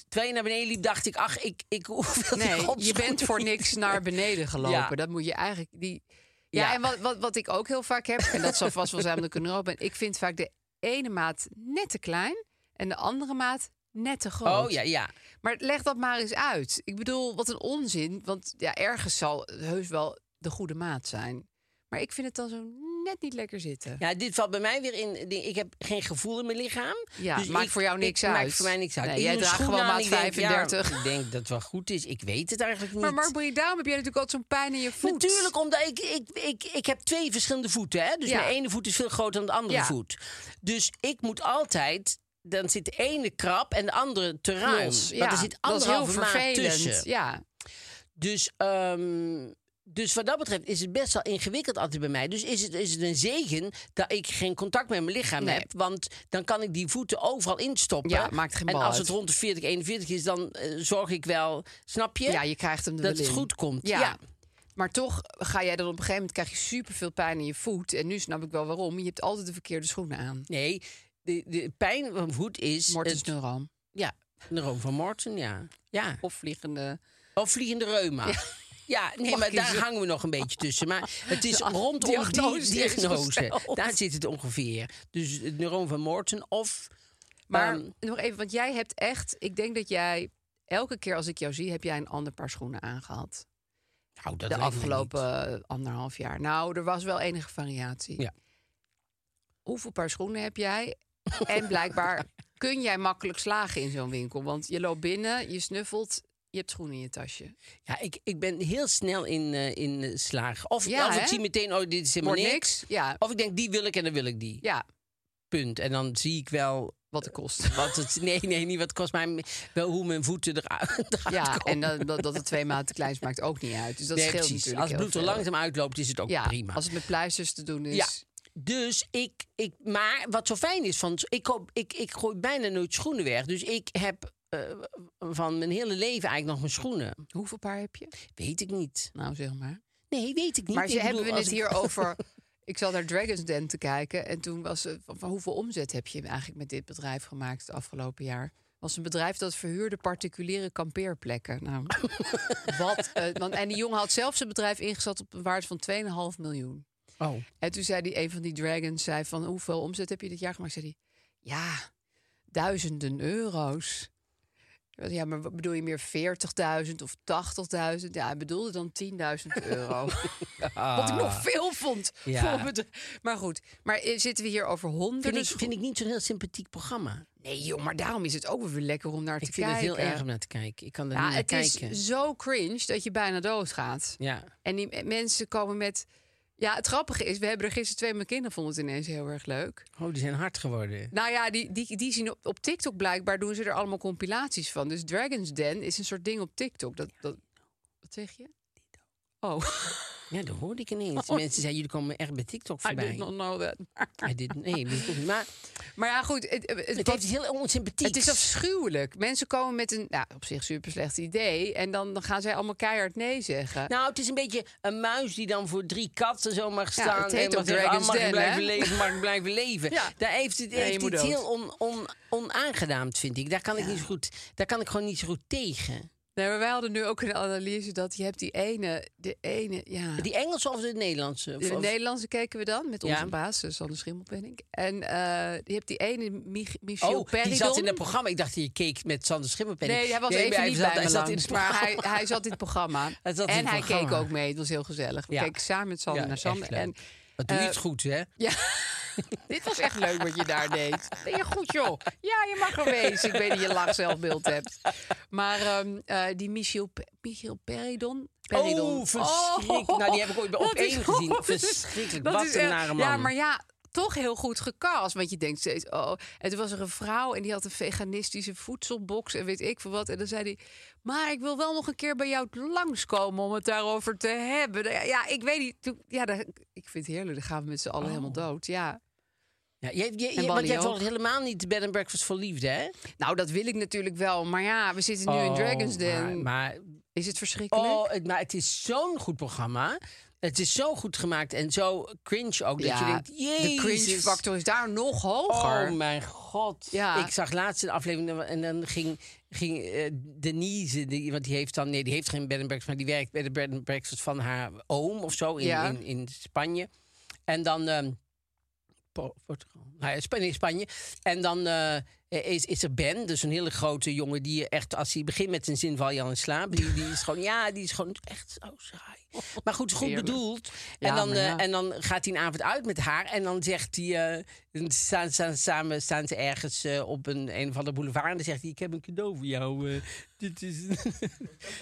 Speaker 2: Terwijl je naar beneden liep, dacht ik, ach, ik, ik hoef *laughs* wel die
Speaker 4: Nee, je
Speaker 2: godschoenen
Speaker 4: bent voor
Speaker 2: niet.
Speaker 4: niks naar beneden gelopen.
Speaker 2: Ja.
Speaker 4: Dat moet je eigenlijk. Die... Ja,
Speaker 2: Ja.
Speaker 4: en wat, wat, wat ik ook heel vaak heb, en dat zal vast wel zijn omdat ik een neuro ben. Ik vind vaak de ene maat net te klein en de andere maat net te groot.
Speaker 2: Oh, ja, ja.
Speaker 4: Maar leg dat maar eens uit. Ik bedoel, wat een onzin. Want ja, ergens zal heus wel de goede maat zijn. Maar ik vind het dan zo net niet lekker zitten.
Speaker 2: Ja, dit valt bij mij weer in. die- Ik heb geen gevoel in mijn lichaam. Dus
Speaker 4: Ja, maakt voor jou niks
Speaker 2: ik,
Speaker 4: uit.
Speaker 2: Maakt voor mij niks uit.
Speaker 4: Nee,
Speaker 2: Ik
Speaker 4: jij
Speaker 2: doe
Speaker 4: draagt
Speaker 2: schoenen
Speaker 4: gewoon
Speaker 2: aan,
Speaker 4: maat
Speaker 2: ik denk, ja,
Speaker 4: 35.
Speaker 2: ik denk dat het wel goed is. Ik weet het eigenlijk niet.
Speaker 4: Maar Mark Marie, daarom heb jij natuurlijk altijd zo'n pijn in je voet.
Speaker 2: Natuurlijk, omdat ik, ik, ik, ik heb twee verschillende voeten. Hè? Dus
Speaker 4: Ja.
Speaker 2: mijn ene voet is veel groter dan de andere
Speaker 4: Ja.
Speaker 2: voet. Dus ik moet altijd... Dan zit de ene krap en de andere te ruim.
Speaker 4: Los,
Speaker 2: Want er zit
Speaker 4: dat is heel
Speaker 2: anderhalve maat
Speaker 4: vervelend.
Speaker 2: tussen.
Speaker 4: Ja,
Speaker 2: Dus, ehm, dus wat dat betreft is het best wel ingewikkeld altijd bij mij. Dus is het, is het een zegen dat ik geen contact met mijn lichaam
Speaker 4: Nee.
Speaker 2: heb. Want dan kan ik die voeten overal instoppen.
Speaker 4: Ja, maakt geen
Speaker 2: En
Speaker 4: bal
Speaker 2: als
Speaker 4: uit.
Speaker 2: het rond de 40, 41 is, dan eh, zorg ik wel, snap je?
Speaker 4: ja, je krijgt hem er
Speaker 2: Dat
Speaker 4: wel
Speaker 2: het
Speaker 4: in.
Speaker 2: goed komt,
Speaker 4: Ja.
Speaker 2: ja.
Speaker 4: Maar toch ga jij dan op een gegeven moment krijg je superveel pijn in je voet. En nu snap ik wel waarom. Je hebt altijd de verkeerde schoenen aan.
Speaker 2: Nee, de, de pijn van mijn voet is...
Speaker 4: Mortens
Speaker 2: het-
Speaker 4: neuroom.
Speaker 2: ja, neuroom van Morten, ja. ja.
Speaker 4: Of vliegende.
Speaker 2: Of vliegende reuma. Ja. *laughs* nee,
Speaker 4: Mag
Speaker 2: maar daar
Speaker 4: kiezen.
Speaker 2: hangen we nog een beetje tussen. Maar het
Speaker 4: *laughs*
Speaker 2: is rondom
Speaker 4: diagnose is
Speaker 2: die diagnose.
Speaker 4: gesteld.
Speaker 2: Daar zit het ongeveer. Dus het neuroom van Morten of...
Speaker 4: Maar
Speaker 2: ehm,
Speaker 4: nog even, want jij hebt echt. Ik denk dat jij elke keer als ik jou zie, heb jij een ander paar schoenen aangehad.
Speaker 2: nou, dat weet
Speaker 4: de
Speaker 2: ik niet.
Speaker 4: afgelopen eh, anderhalf jaar. Nou, er was wel enige variatie.
Speaker 2: Ja.
Speaker 4: Hoeveel paar schoenen heb jij? En
Speaker 2: *laughs*
Speaker 4: blijkbaar kun jij makkelijk slagen in zo'n winkel. Want je loopt binnen, je snuffelt, je hebt schoenen in je tasje.
Speaker 2: Ja, ik, ik ben heel snel in, eh in eh, slagen. Of,
Speaker 4: Ja,
Speaker 2: of
Speaker 4: hè?
Speaker 2: ik zie meteen, oh, dit is helemaal
Speaker 4: Wordt
Speaker 2: niks. Oh.
Speaker 4: niks, ja.
Speaker 2: Of ik denk, die wil ik en dan wil ik die.
Speaker 4: Ja,
Speaker 2: Punt. En dan zie ik wel...
Speaker 4: wat het
Speaker 2: *laughs*
Speaker 4: kost.
Speaker 2: Wat het, nee, nee, niet wat het kost, maar wel hoe mijn voeten eruit, *laughs* eruit
Speaker 4: Ja,
Speaker 2: komen.
Speaker 4: en dat, dat, dat het twee maanden te klein is, maakt ook niet uit. Dus dat
Speaker 2: Nee,
Speaker 4: scheelt
Speaker 2: precies.
Speaker 4: natuurlijk
Speaker 2: Als het
Speaker 4: heel
Speaker 2: bloed er
Speaker 4: veel.
Speaker 2: langzaam uitloopt, is het ook
Speaker 4: ja,
Speaker 2: prima.
Speaker 4: Als het met pleisters te doen is.
Speaker 2: Ja. Dus ik, ik, maar wat zo fijn is, van, ik, koop, ik, ik gooi bijna nooit schoenen weg. Dus ik heb eh, van mijn hele leven eigenlijk nog mijn schoenen.
Speaker 4: Hoeveel paar heb je?
Speaker 2: Weet ik niet.
Speaker 4: Nou, zeg maar.
Speaker 2: Nee, weet ik niet.
Speaker 4: Maar
Speaker 2: Ik
Speaker 4: ze hebben
Speaker 2: bedoel,
Speaker 4: we
Speaker 2: als
Speaker 4: het
Speaker 2: ik-
Speaker 4: hier
Speaker 2: *laughs*
Speaker 4: over. Ik zat naar Dragon's Den te kijken. En toen was het van, van hoeveel omzet heb je eigenlijk met dit bedrijf gemaakt het afgelopen jaar? was een bedrijf dat verhuurde particuliere kampeerplekken.
Speaker 2: *laughs*
Speaker 4: Nou, wat, eh, want, en die jongen had zelf zijn bedrijf ingezet op een waarde van 2,5 miljoen.
Speaker 2: Oh.
Speaker 4: En toen zei die, een van die dragons zei van hoeveel omzet heb je dit jaar gemaakt? Zei die, ja, duizenden euro's. Ik zei, Ja, maar wat bedoel je meer 40.000 of 80.000? Ja, hij bedoelde dan 10.000
Speaker 2: *laughs*
Speaker 4: euro. *laughs* Wat ik nog veel vond.
Speaker 2: Ja.
Speaker 4: voor het- Maar goed, maar eh, zitten we hier over honderden
Speaker 2: Vind ik,
Speaker 4: schoenen?
Speaker 2: vind ik niet zo'n heel sympathiek programma.
Speaker 4: Nee joh, maar daarom is het ook wel weer lekker om naar te
Speaker 2: Ik vind
Speaker 4: kijken.
Speaker 2: het heel erg om naar te kijken. Ik kan er
Speaker 4: Ja,
Speaker 2: niet naar
Speaker 4: het
Speaker 2: kijken.
Speaker 4: is zo cringe dat je bijna doodgaat.
Speaker 2: Ja.
Speaker 4: En die m- mensen komen met... Ja, het grappige is, we hebben er gisteren twee... Mijn kinderen vonden het ineens heel erg leuk.
Speaker 2: Oh, die zijn hard geworden.
Speaker 4: Nou ja, die, die, die zien op, op TikTok blijkbaar doen ze er allemaal compilaties van. Dus Dragon's Den is een soort ding op TikTok. Dat, dat, wat zeg je? Oh, *laughs*
Speaker 2: Ja, dat hoorde ik ineens.
Speaker 4: Oh.
Speaker 2: Mensen zeiden, jullie komen echt bij TikTok
Speaker 4: I did not
Speaker 2: voorbij.
Speaker 4: know that.
Speaker 2: Hij dit, nee, dat is niet.
Speaker 4: *laughs*
Speaker 2: Maar
Speaker 4: Maar ja, goed. Het, het,
Speaker 2: het
Speaker 4: wat-
Speaker 2: heeft iets heel onsympathiek.
Speaker 4: het is afschuwelijk. Mensen komen met een nou, op zich super slecht idee. En dan, dan gaan zij allemaal keihard nee zeggen.
Speaker 2: Nou, het is een beetje een muis die dan voor drie katten zo mag
Speaker 4: Ja,
Speaker 2: staan.
Speaker 4: het heet
Speaker 2: en
Speaker 4: ook
Speaker 2: mag zeggen,
Speaker 4: Dragon's
Speaker 2: ah, mag ik
Speaker 4: Den,
Speaker 2: blijven
Speaker 4: hè?
Speaker 2: leven, mag ik blijven leven.
Speaker 4: *laughs* Ja.
Speaker 2: Daar heeft het
Speaker 4: Nee, je
Speaker 2: heeft
Speaker 4: moet
Speaker 2: iets
Speaker 4: dood.
Speaker 2: heel on, on, onaangenaamd, vind ik. Daar kan ik niet zo goed. Daar kan ik gewoon niet zo goed tegen.
Speaker 4: Nee, maar wij hadden nu ook een analyse dat je hebt die ene, de ene, ja.
Speaker 2: Die Engelse of de Nederlandse? Of-
Speaker 4: de
Speaker 2: of-
Speaker 4: Nederlandse keken we dan met onze
Speaker 2: Ja.
Speaker 4: baas, eh, Sander Schimmel ben ik. En eh, je hebt die ene Mich Michiel
Speaker 2: Oh, die
Speaker 4: Peridon.
Speaker 2: zat in het programma. Ik dacht, je keek met Sander Schimmelpenning.
Speaker 4: Nee, hij was even niet
Speaker 2: zat-
Speaker 4: bij me
Speaker 2: hij zat in
Speaker 4: langs,
Speaker 2: het
Speaker 4: maar
Speaker 2: programma. Oh.
Speaker 4: hij, hij zat in het programma.
Speaker 2: *laughs* Hij zat in
Speaker 4: en
Speaker 2: het
Speaker 4: hij keek
Speaker 2: programma.
Speaker 4: ook mee, het was heel gezellig. We
Speaker 2: Ja.
Speaker 4: keken samen met Sander
Speaker 2: Ja,
Speaker 4: oh, naar Sander.
Speaker 2: echt leuk.
Speaker 4: En
Speaker 2: Wat doe je
Speaker 4: eh,
Speaker 2: het goed, hè?
Speaker 4: Ja. *laughs* Dit was echt leuk wat je daar deed. Ben je goed, joh? Ja, je mag er wezen. Ik weet dat je een laag zelfbeeld hebt. Maar ehm, eh, die Michiel, Pe- Michiel Peridon... Peridon. Oh.
Speaker 2: Oh, verschrikkelijk. Nou, die heb ik ooit bij
Speaker 4: dat is
Speaker 2: Opeen gezien.
Speaker 4: gewoon-
Speaker 2: Verschrikkelijk. Wat een
Speaker 4: echt-
Speaker 2: nare
Speaker 4: Ja,
Speaker 2: man.
Speaker 4: maar ja, toch heel goed gecast. Want je denkt steeds, oh. En toen was er een vrouw en die had een veganistische voedselbox en weet ik veel wat. En dan zei hij, maar ik wil wel nog een keer bij jou langskomen om het daarover te hebben. Nou ja, Ja, ik weet niet. Toen- ja, daar- ik vind het heerlijk. Dan gaan we met z'n
Speaker 2: Oh.
Speaker 4: allen helemaal dood. Ja.
Speaker 2: Ja, je, je, je, want
Speaker 4: Wally
Speaker 2: jij
Speaker 4: ook.
Speaker 2: volgt helemaal niet Bed and Breakfast voor Liefde, hè? Oh,
Speaker 4: Nou, dat wil ik natuurlijk wel. Maar ja, we zitten nu in Dragons Den.
Speaker 2: Maar,
Speaker 4: Is het verschrikkelijk?
Speaker 2: oh, het, maar het is zo'n goed programma. Het is zo goed gemaakt en zo cringe ook. Dat je denkt, jezus.
Speaker 4: de cringe factor is daar nog hoger.
Speaker 2: Oh mijn god.
Speaker 4: Ja.
Speaker 2: Ik zag laatst een aflevering en dan ging, ging eh, Denise, die, want die heeft dan, nee, die heeft geen bed and breakfast, maar die werkt bij de bed and breakfast van haar oom of zo in,
Speaker 4: Ja.
Speaker 2: in, in Spanje. En dan ehm, Po- Portugal. Nou ja, Spa- nee, Spanje. En dan eh, is, is er Ben, dus een hele grote jongen die je echt, als hij begint met zijn zin, val je al in slaap. Die, die is gewoon, ja, die is gewoon echt zo saai. Maar goed, goed
Speaker 4: Heerlijk.
Speaker 2: bedoeld.
Speaker 4: Ja,
Speaker 2: en, dan,
Speaker 4: maar
Speaker 2: eh,
Speaker 4: ja.
Speaker 2: en dan gaat hij een avond uit met haar en dan zegt hij, eh, dan staan, staan, samen staan ze ergens eh, op een, een of andere boulevard en dan zegt hij, ik heb een cadeau voor jou. eh, dit, is, *laughs*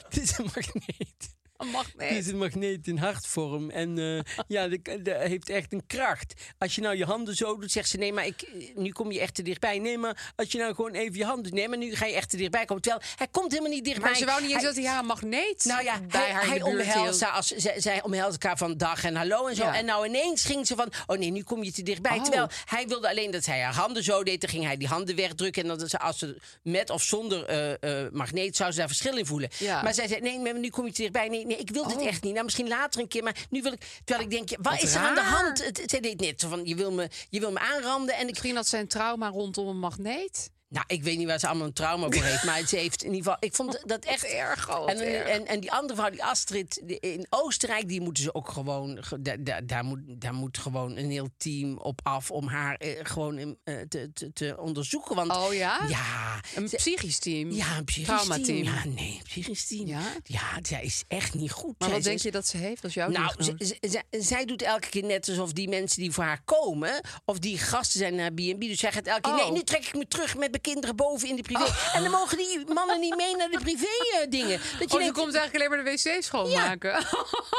Speaker 2: dit is een magneet.
Speaker 4: Een magneet.
Speaker 2: Dit is een magneet in hartvorm. En eh, ja, dat heeft echt een kracht. Als je nou je handen zo doet, zegt ze... nee, maar ik, eh, nu kom je echt te dichtbij. Nee, maar als je nou gewoon even je handen... nee, maar nu ga je echt te dichtbij komen. Terwijl hij komt helemaal niet dichtbij.
Speaker 4: Maar ze wou niet eens dat hij haar een magneet
Speaker 2: Nou ja,
Speaker 4: bij
Speaker 2: hij,
Speaker 4: haar in
Speaker 2: hij
Speaker 4: de buurt hield.
Speaker 2: omhelst haar als, zij, zij omhelst elkaar van dag en hallo en zo.
Speaker 4: Ja.
Speaker 2: En nou ineens ging ze van, oh nee, nu kom je te dichtbij.
Speaker 4: Oh.
Speaker 2: Terwijl hij wilde alleen dat zij haar handen zo deed. Dan ging hij die handen wegdrukken. En dan ze, als ze met of zonder eh, eh, magneet zou ze daar verschil in voelen.
Speaker 4: Ja.
Speaker 2: Maar zij zei, nee, maar nu kom je te dichtbij. Nee, nee ik wil dit
Speaker 4: Oh.
Speaker 2: echt niet. Nou, misschien later een keer. Maar nu wil ik, terwijl ik denk, ja, wat,
Speaker 4: Wat
Speaker 2: is er aan de
Speaker 4: raar.
Speaker 2: hand? Het, zij deed net zo van, je wil me, je wil me aanranden. En ik,
Speaker 4: Misschien had zijn trauma rondom een magneet.
Speaker 2: nou, ik weet niet waar ze allemaal een trauma voor heeft. Maar ze heeft in ieder geval. Ik vond dat echt
Speaker 4: erg, oh, wat
Speaker 2: en, eh,
Speaker 4: erg.
Speaker 2: en, en die andere vrouw, die Astrid die- in Oostenrijk, die moeten ze ook gewoon. ge- da- da- daar, moet, daar moet gewoon een heel team op af om haar eh, gewoon in, eh, te, te, te onderzoeken. Want
Speaker 4: Oh ja?
Speaker 2: Ja.
Speaker 4: Een
Speaker 2: ze-
Speaker 4: psychisch team.
Speaker 2: ja, een psychisch
Speaker 4: Trauma
Speaker 2: team.
Speaker 4: team.
Speaker 2: Ja, nee, een psychisch team.
Speaker 4: Ja?
Speaker 2: zij is echt niet goed. Zij
Speaker 4: Maar wat
Speaker 2: is-
Speaker 4: denk je dat ze heeft als jouw
Speaker 2: nou,
Speaker 4: diagnose?
Speaker 2: z- z- z- zij doet elke keer net alsof die mensen die voor haar komen... of die gasten zijn naar B&B. Dus zij gaat elke keer...
Speaker 4: Oh.
Speaker 2: nee, nu trek ik me terug met mijn kinderen boven in de privé. En dan mogen die mannen niet mee naar de privé-dingen. dat je
Speaker 4: Oh, ze
Speaker 2: denkt,
Speaker 4: komt eigenlijk alleen maar de wc schoonmaken.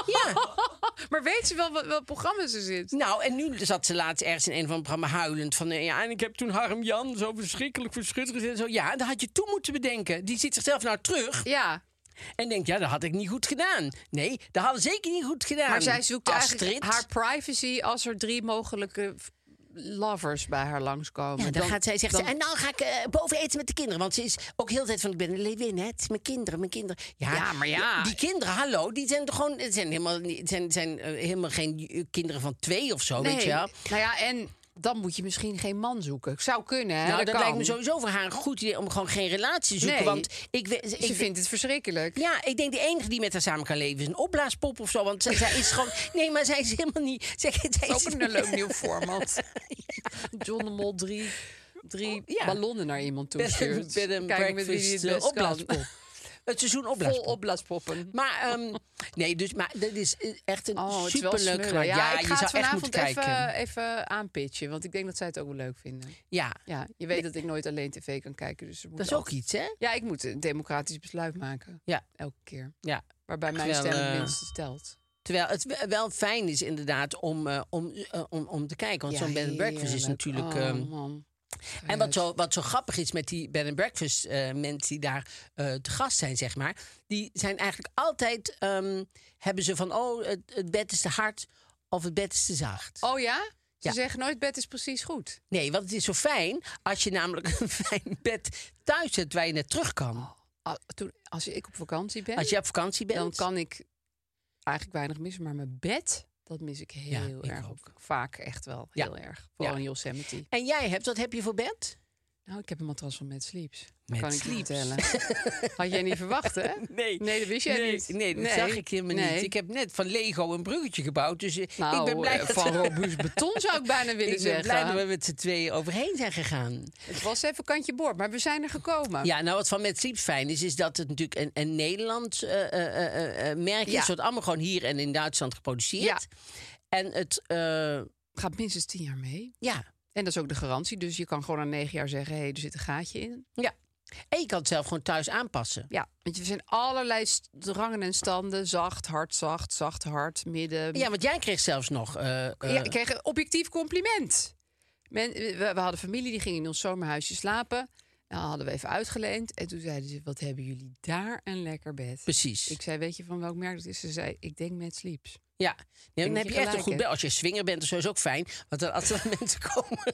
Speaker 2: ja.
Speaker 4: *laughs* maar weet ze wel wat, welk programma ze zit?
Speaker 2: Nou, en nu zat ze laatst ergens in een van de programma huilend. Van, eh, ja, en ik heb toen Harm Jan zo verschrikkelijk verschut gezet. en Zo, ja, dat had je toen moeten bedenken. Die ziet zichzelf nou terug
Speaker 4: Ja,
Speaker 2: en denkt... ja, dat had ik niet goed gedaan. Nee, dat hadden we zeker niet goed gedaan.
Speaker 4: maar zij zoekt
Speaker 2: Ehm, Astrid.
Speaker 4: eigenlijk haar privacy als er drie mogelijke f- lovers bij haar langskomen.
Speaker 2: Ja, dan, gaat zij zeggen, en dan ga ik eh, boven eten met de kinderen. Want ze is ook heel de tijd van, ik ben een leeuwin, hè. Het is mijn kinderen, mijn kinderen.
Speaker 4: Ja, maar ja.
Speaker 2: Die kinderen, hallo, die zijn toch gewoon... Het zijn helemaal, niet- het zijn, zijn eh, helemaal geen eh, kinderen van twee of zo, weet je wel.
Speaker 4: Nou ja, en dan moet je misschien geen man zoeken. Zou kunnen, hè?
Speaker 2: Nou, dat,
Speaker 4: kan.
Speaker 2: lijkt me sowieso voor haar een goed idee om gewoon geen relatie te zoeken.
Speaker 4: Nee.
Speaker 2: Want ik, we- ik,
Speaker 4: Ze vindt het verschrikkelijk.
Speaker 2: Ja, ik denk de enige die met haar samen kan leven is een opblaaspop of zo. Want zij, zij is
Speaker 4: *laughs*
Speaker 2: gewoon... Nee, maar zij is helemaal niet... *laughs* Zij, zij
Speaker 4: Dat
Speaker 2: is
Speaker 4: is ook een eh,
Speaker 2: *laughs*
Speaker 4: leuk nieuw format. John de Mol drie, drie
Speaker 2: Oh, Ja.
Speaker 4: ballonnen naar iemand toe
Speaker 2: Bed and-
Speaker 4: stuurt.
Speaker 2: bed and
Speaker 4: Kijken met wie die het
Speaker 2: breakfast, eh,
Speaker 4: best kan.
Speaker 2: opblaaspop. Het seizoen
Speaker 4: Vol
Speaker 2: opblaaspop.
Speaker 4: *laughs* opblaaspoppen.
Speaker 2: Maar, ehm, *laughs* nee, dus, maar dat is echt een
Speaker 4: Oh, het is wel
Speaker 2: superleuk
Speaker 4: smullen.
Speaker 2: gemaakt.
Speaker 4: Ja, ik
Speaker 2: je
Speaker 4: ga
Speaker 2: zou
Speaker 4: het
Speaker 2: echt
Speaker 4: vanavond
Speaker 2: moeten kijken.
Speaker 4: even, even aanpitchen. Want ik denk dat zij het ook wel leuk vinden.
Speaker 2: Ja,
Speaker 4: Ja, je weet dat ik nooit alleen tv kan kijken. Dus er moet
Speaker 2: dat is ook
Speaker 4: altijd-
Speaker 2: iets, hè?
Speaker 4: Ja, ik moet een democratisch besluit maken.
Speaker 2: Ja.
Speaker 4: Elke keer.
Speaker 2: Ja.
Speaker 4: Waarbij mijn
Speaker 2: Terwijl,
Speaker 4: stem het
Speaker 2: eh,
Speaker 4: minste telt.
Speaker 2: Terwijl het we- wel fijn is inderdaad om, eh, om, eh, om, om te kijken. Want
Speaker 4: Ja,
Speaker 2: zo'n bed and breakfast is
Speaker 4: heerlijk.
Speaker 2: natuurlijk...
Speaker 4: Oh,
Speaker 2: ehm,
Speaker 4: man.
Speaker 2: En wat zo, wat zo grappig is met die bed and breakfast eh, mensen die daar eh, te gast zijn, zeg maar. Die zijn eigenlijk altijd, ehm, hebben ze van, oh, het, het bed is te hard of het bed is te zacht.
Speaker 4: Oh ja? Ze
Speaker 2: Ja.
Speaker 4: zeggen nooit bed is precies goed.
Speaker 2: Nee, want het is zo fijn als je namelijk een *laughs* fijn bed thuis hebt waar je net terug
Speaker 4: Oh,
Speaker 2: kan.
Speaker 4: Al- toen, als ik op vakantie ben,
Speaker 2: Als je op vakantie bent.
Speaker 4: dan kan ik eigenlijk weinig missen. Maar mijn bed, dat mis ik heel
Speaker 2: ik
Speaker 4: erg.
Speaker 2: ook.
Speaker 4: Vaak echt wel
Speaker 2: Ja.
Speaker 4: heel erg. Vooral
Speaker 2: Ja.
Speaker 4: in Yosemite.
Speaker 2: En jij hebt, wat heb je voor bed?
Speaker 4: Nou, ik heb een matras van Mad Sleeps. Dat
Speaker 2: Mad
Speaker 4: kan
Speaker 2: Sleeps.
Speaker 4: ik je
Speaker 2: *laughs*
Speaker 4: vertellen. Had jij niet verwacht, hè?
Speaker 2: Nee.
Speaker 4: Nee, dat wist jij
Speaker 2: nee,
Speaker 4: niet.
Speaker 2: Nee, dat
Speaker 4: Nee.
Speaker 2: zag ik helemaal
Speaker 4: Nee.
Speaker 2: niet. Ik heb net van Lego een bruggetje gebouwd. Dus eh, *laughs*
Speaker 4: Nou,
Speaker 2: ik ben blij
Speaker 4: eh,
Speaker 2: dat-
Speaker 4: van robuust beton zou ik bijna willen
Speaker 2: *laughs* ik ben
Speaker 4: zeggen.
Speaker 2: blij dat we met z'n tweeën overheen zijn gegaan.
Speaker 4: Het was even kantje boord, maar we zijn er gekomen.
Speaker 2: Ja, nou wat van Met Sleeps fijn is, is dat het natuurlijk een, een Nederlands eh, eh, eh, eh, merk is.
Speaker 4: Ja.
Speaker 2: Het wordt allemaal gewoon hier en in Duitsland geproduceerd.
Speaker 4: Ja.
Speaker 2: En het, eh,
Speaker 4: Gaat minstens tien jaar mee.
Speaker 2: ja,
Speaker 4: En dat is ook de garantie. Dus je kan gewoon na negen jaar zeggen, hé, hey, er zit een gaatje in.
Speaker 2: ja. En je kan het zelf gewoon thuis aanpassen.
Speaker 4: Ja, want je zijn allerlei st- rangen en standen. Zacht, hard, zacht, zacht, hard, midden.
Speaker 2: Ja, want jij kreeg zelfs nog. eh, eh,
Speaker 4: Ja, ik kreeg een objectief compliment. Men, we, we hadden familie die ging in ons zomerhuisje slapen. Nou, hadden we even uitgeleend. En toen zeiden ze: Wat hebben jullie daar een lekker bed?
Speaker 2: Precies.
Speaker 4: Ik zei: Weet je van welk merk het is? Ze zei: Ik denk met Sleeps.
Speaker 2: ja. Nee, dan
Speaker 4: dat
Speaker 2: heb
Speaker 4: je
Speaker 2: je echt een
Speaker 4: gelijk
Speaker 2: goed
Speaker 4: hebt.
Speaker 2: bel. Als je swinger bent, of zo is ook fijn. Want dan, als er *laughs* mensen komen,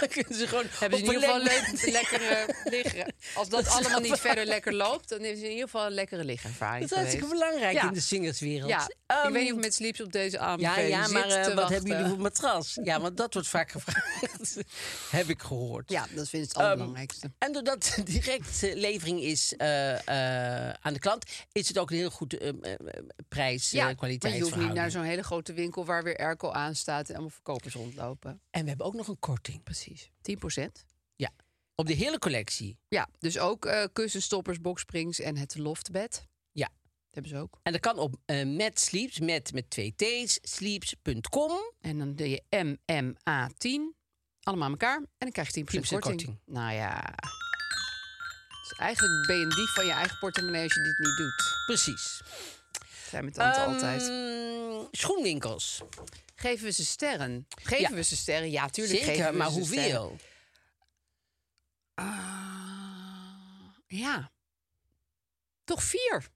Speaker 2: dan kunnen ze gewoon.
Speaker 4: Hebben ze
Speaker 2: op
Speaker 4: in ieder geval
Speaker 2: een
Speaker 4: leuk,
Speaker 2: lekker-
Speaker 4: lekkere *laughs* liggen. Als dat allemaal niet verder lekker loopt, dan hebben ze in ieder geval een lekkere ligervaring.
Speaker 2: Dat is hartstikke
Speaker 4: geweest.
Speaker 2: belangrijk
Speaker 4: Ja.
Speaker 2: in de singerswereld.
Speaker 4: Ja, ik
Speaker 2: Ehm,
Speaker 4: weet niet of met Sleeps op deze
Speaker 2: Ja,
Speaker 4: aanbeveling
Speaker 2: ja,
Speaker 4: zit
Speaker 2: maar eh,
Speaker 4: te
Speaker 2: wat
Speaker 4: wachten.
Speaker 2: hebben jullie voor matras? Ja, want dat wordt vaak gevraagd. *laughs* Heb ik gehoord.
Speaker 4: Ja, dat vind ik het allerbelangrijkste.
Speaker 2: En doordat het direct eh, levering is eh, eh, aan de klant, is het ook een heel goed eh, eh, prijs eh
Speaker 4: maar je hoeft niet
Speaker 2: kwaliteitsverhouding.
Speaker 4: naar zo'n hele grote winkel waar weer airco aan staat en allemaal verkopers rondlopen.
Speaker 2: En we hebben ook nog een korting.
Speaker 4: Precies. 10 procent.
Speaker 2: Ja, op de hele collectie.
Speaker 4: Ja, dus ook eh kussenstoppers, boksprings en het loftbed.
Speaker 2: Ja.
Speaker 4: Dat hebben ze ook.
Speaker 2: En dat kan op eh, met Sleeps, met, met twee T's, sleeps.com.
Speaker 4: En dan doe je MMA10. Allemaal aan elkaar. En dan krijg je 10%
Speaker 2: 10%
Speaker 4: korting.
Speaker 2: korting.
Speaker 4: Nou ja. Dus eigenlijk ben je een dief van je eigen portemonnee als je dit niet doet.
Speaker 2: Precies.
Speaker 4: Zijn met tante altijd.
Speaker 2: Ehm, Schoenwinkels.
Speaker 4: Geven we ze sterren? Geven
Speaker 2: Ja.
Speaker 4: we ze sterren? Ja, tuurlijk geven
Speaker 2: Zeker,
Speaker 4: we
Speaker 2: maar
Speaker 4: ze sterren.
Speaker 2: hoeveel?
Speaker 4: Ah, ja. Toch vier.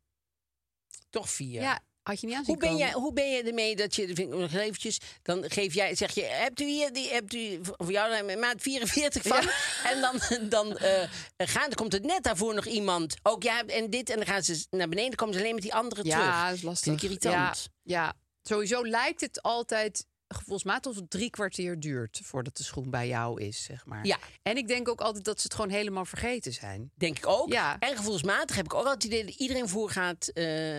Speaker 2: Toch vier.
Speaker 4: Ja. dus had je niet aan
Speaker 2: Hoe
Speaker 4: zien
Speaker 2: ben,
Speaker 4: komen.
Speaker 2: jij, hoe ben je ermee dat je, dat vind ik nog eventjes, dan geef jij, zeg je, hebt u hier, die, hebt u voor jou daar maat 44 van? *laughs* En dan, dan eh, gaan, komt het net daarvoor nog iemand, ook ja, en dit, en dan gaan ze naar beneden, dan komen ze alleen met die andere terug.
Speaker 4: Ja, dat is lastig.
Speaker 2: Vind ik irritant.
Speaker 4: Ja, ja, sowieso lijkt het altijd gevoelsmatig of het drie kwartier duurt voordat de schoen bij jou is, zeg maar.
Speaker 2: Ja.
Speaker 4: En ik denk ook altijd dat ze het gewoon helemaal vergeten zijn.
Speaker 2: Denk ik ook.
Speaker 4: Ja.
Speaker 2: En gevoelsmatig heb ik ook altijd het idee dat iedereen voorgaat, eh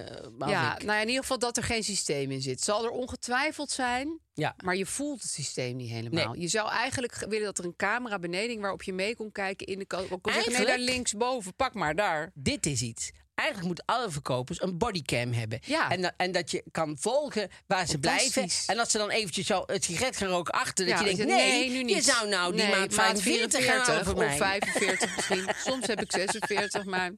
Speaker 2: behalve
Speaker 4: ja,
Speaker 2: ik.
Speaker 4: nou ja, in ieder geval dat er geen systeem in zit. Zal er ongetwijfeld zijn,
Speaker 2: Ja.
Speaker 4: maar je voelt het systeem niet helemaal.
Speaker 2: Nee.
Speaker 4: Je zou eigenlijk ge- willen dat er een camera beneden waarop je mee kon kijken in de kast. Kon zeggen, nee,
Speaker 2: Eigenlijk-
Speaker 4: daar linksboven, pak maar daar.
Speaker 2: dit is iets. Eigenlijk moeten alle verkopers een bodycam hebben.
Speaker 4: Ja.
Speaker 2: En, da- en dat je kan volgen waar ze blijven.
Speaker 4: Fantastisch.
Speaker 2: En als ze dan eventjes zo het sigaret gaan roken achter... dat
Speaker 4: Ja,
Speaker 2: je denkt,
Speaker 4: ik zeg,
Speaker 2: nee,
Speaker 4: nee, nu niet.
Speaker 2: je zou nou die
Speaker 4: Nee,
Speaker 2: maand 45 gaan over
Speaker 4: of
Speaker 2: mij. *laughs*
Speaker 4: 45 misschien. Soms heb ik 46, maar...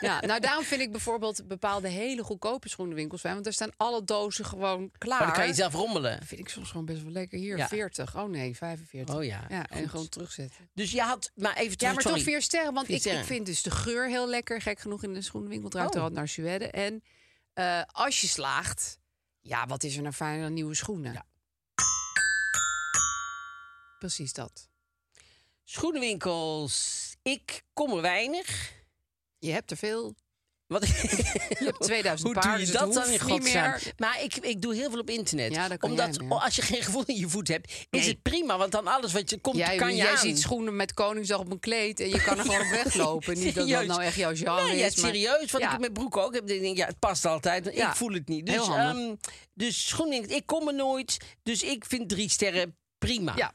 Speaker 4: Ja, nou, daarom vind ik bijvoorbeeld bepaalde hele goedkope schoenenwinkels fijn. Want daar staan alle dozen gewoon klaar.
Speaker 2: Maar Oh, dan kan je zelf rommelen.
Speaker 4: vind ik soms gewoon best wel lekker. Hier,
Speaker 2: Ja.
Speaker 4: 40. Oh nee, 45.
Speaker 2: Oh ja,
Speaker 4: ja en
Speaker 2: goed.
Speaker 4: gewoon terugzetten.
Speaker 2: Dus je had... Maar even
Speaker 4: Ja,
Speaker 2: terug,
Speaker 4: maar
Speaker 2: sorry.
Speaker 4: toch vier sterren. Want
Speaker 2: Vier
Speaker 4: ik,
Speaker 2: sterren.
Speaker 4: ik vind dus de geur heel lekker. Gek genoeg in de schoenenwinkel draait
Speaker 2: Oh.
Speaker 4: er al naar Suède. En eh, als je slaagt, ja, wat is er nou fijner dan nieuwe schoenen? Precies dat.
Speaker 2: Schoenenwinkels. Ik kom er weinig.
Speaker 4: Je hebt er veel.
Speaker 2: Wat... *laughs*
Speaker 4: *laughs* Je hebt 2000
Speaker 2: Hoe
Speaker 4: paar,
Speaker 2: doe je
Speaker 4: dus
Speaker 2: dat
Speaker 4: het
Speaker 2: dan
Speaker 4: hoeft
Speaker 2: in
Speaker 4: niet
Speaker 2: godsnaam?
Speaker 4: meer.
Speaker 2: Maar ik, ik doe heel veel op internet.
Speaker 4: Ja, dat kan
Speaker 2: Omdat
Speaker 4: jij, ja.
Speaker 2: als je geen gevoel in je voet hebt, is
Speaker 4: Nee.
Speaker 2: het prima. Want dan alles wat je komt,
Speaker 4: Jij,
Speaker 2: kan je
Speaker 4: jij
Speaker 2: aan.
Speaker 4: ziet
Speaker 2: *laughs*
Speaker 4: schoenen met Koningsdag op een kleed en je kan er gewoon op weglopen. Niet dat dat
Speaker 2: Serieus.
Speaker 4: nou echt jouw genre
Speaker 2: Nee, ja,
Speaker 4: is. maar-
Speaker 2: serieus. Want
Speaker 4: Ja.
Speaker 2: ik heb met broek ook. heb. Ik denk, ja, het past altijd. maar
Speaker 4: Ja,
Speaker 2: Ik voel het niet. Dus,
Speaker 4: heel handig.
Speaker 2: ehm, dus schoenwinkel, ik kom er nooit. Dus ik vind drie sterren prima.
Speaker 4: Ja.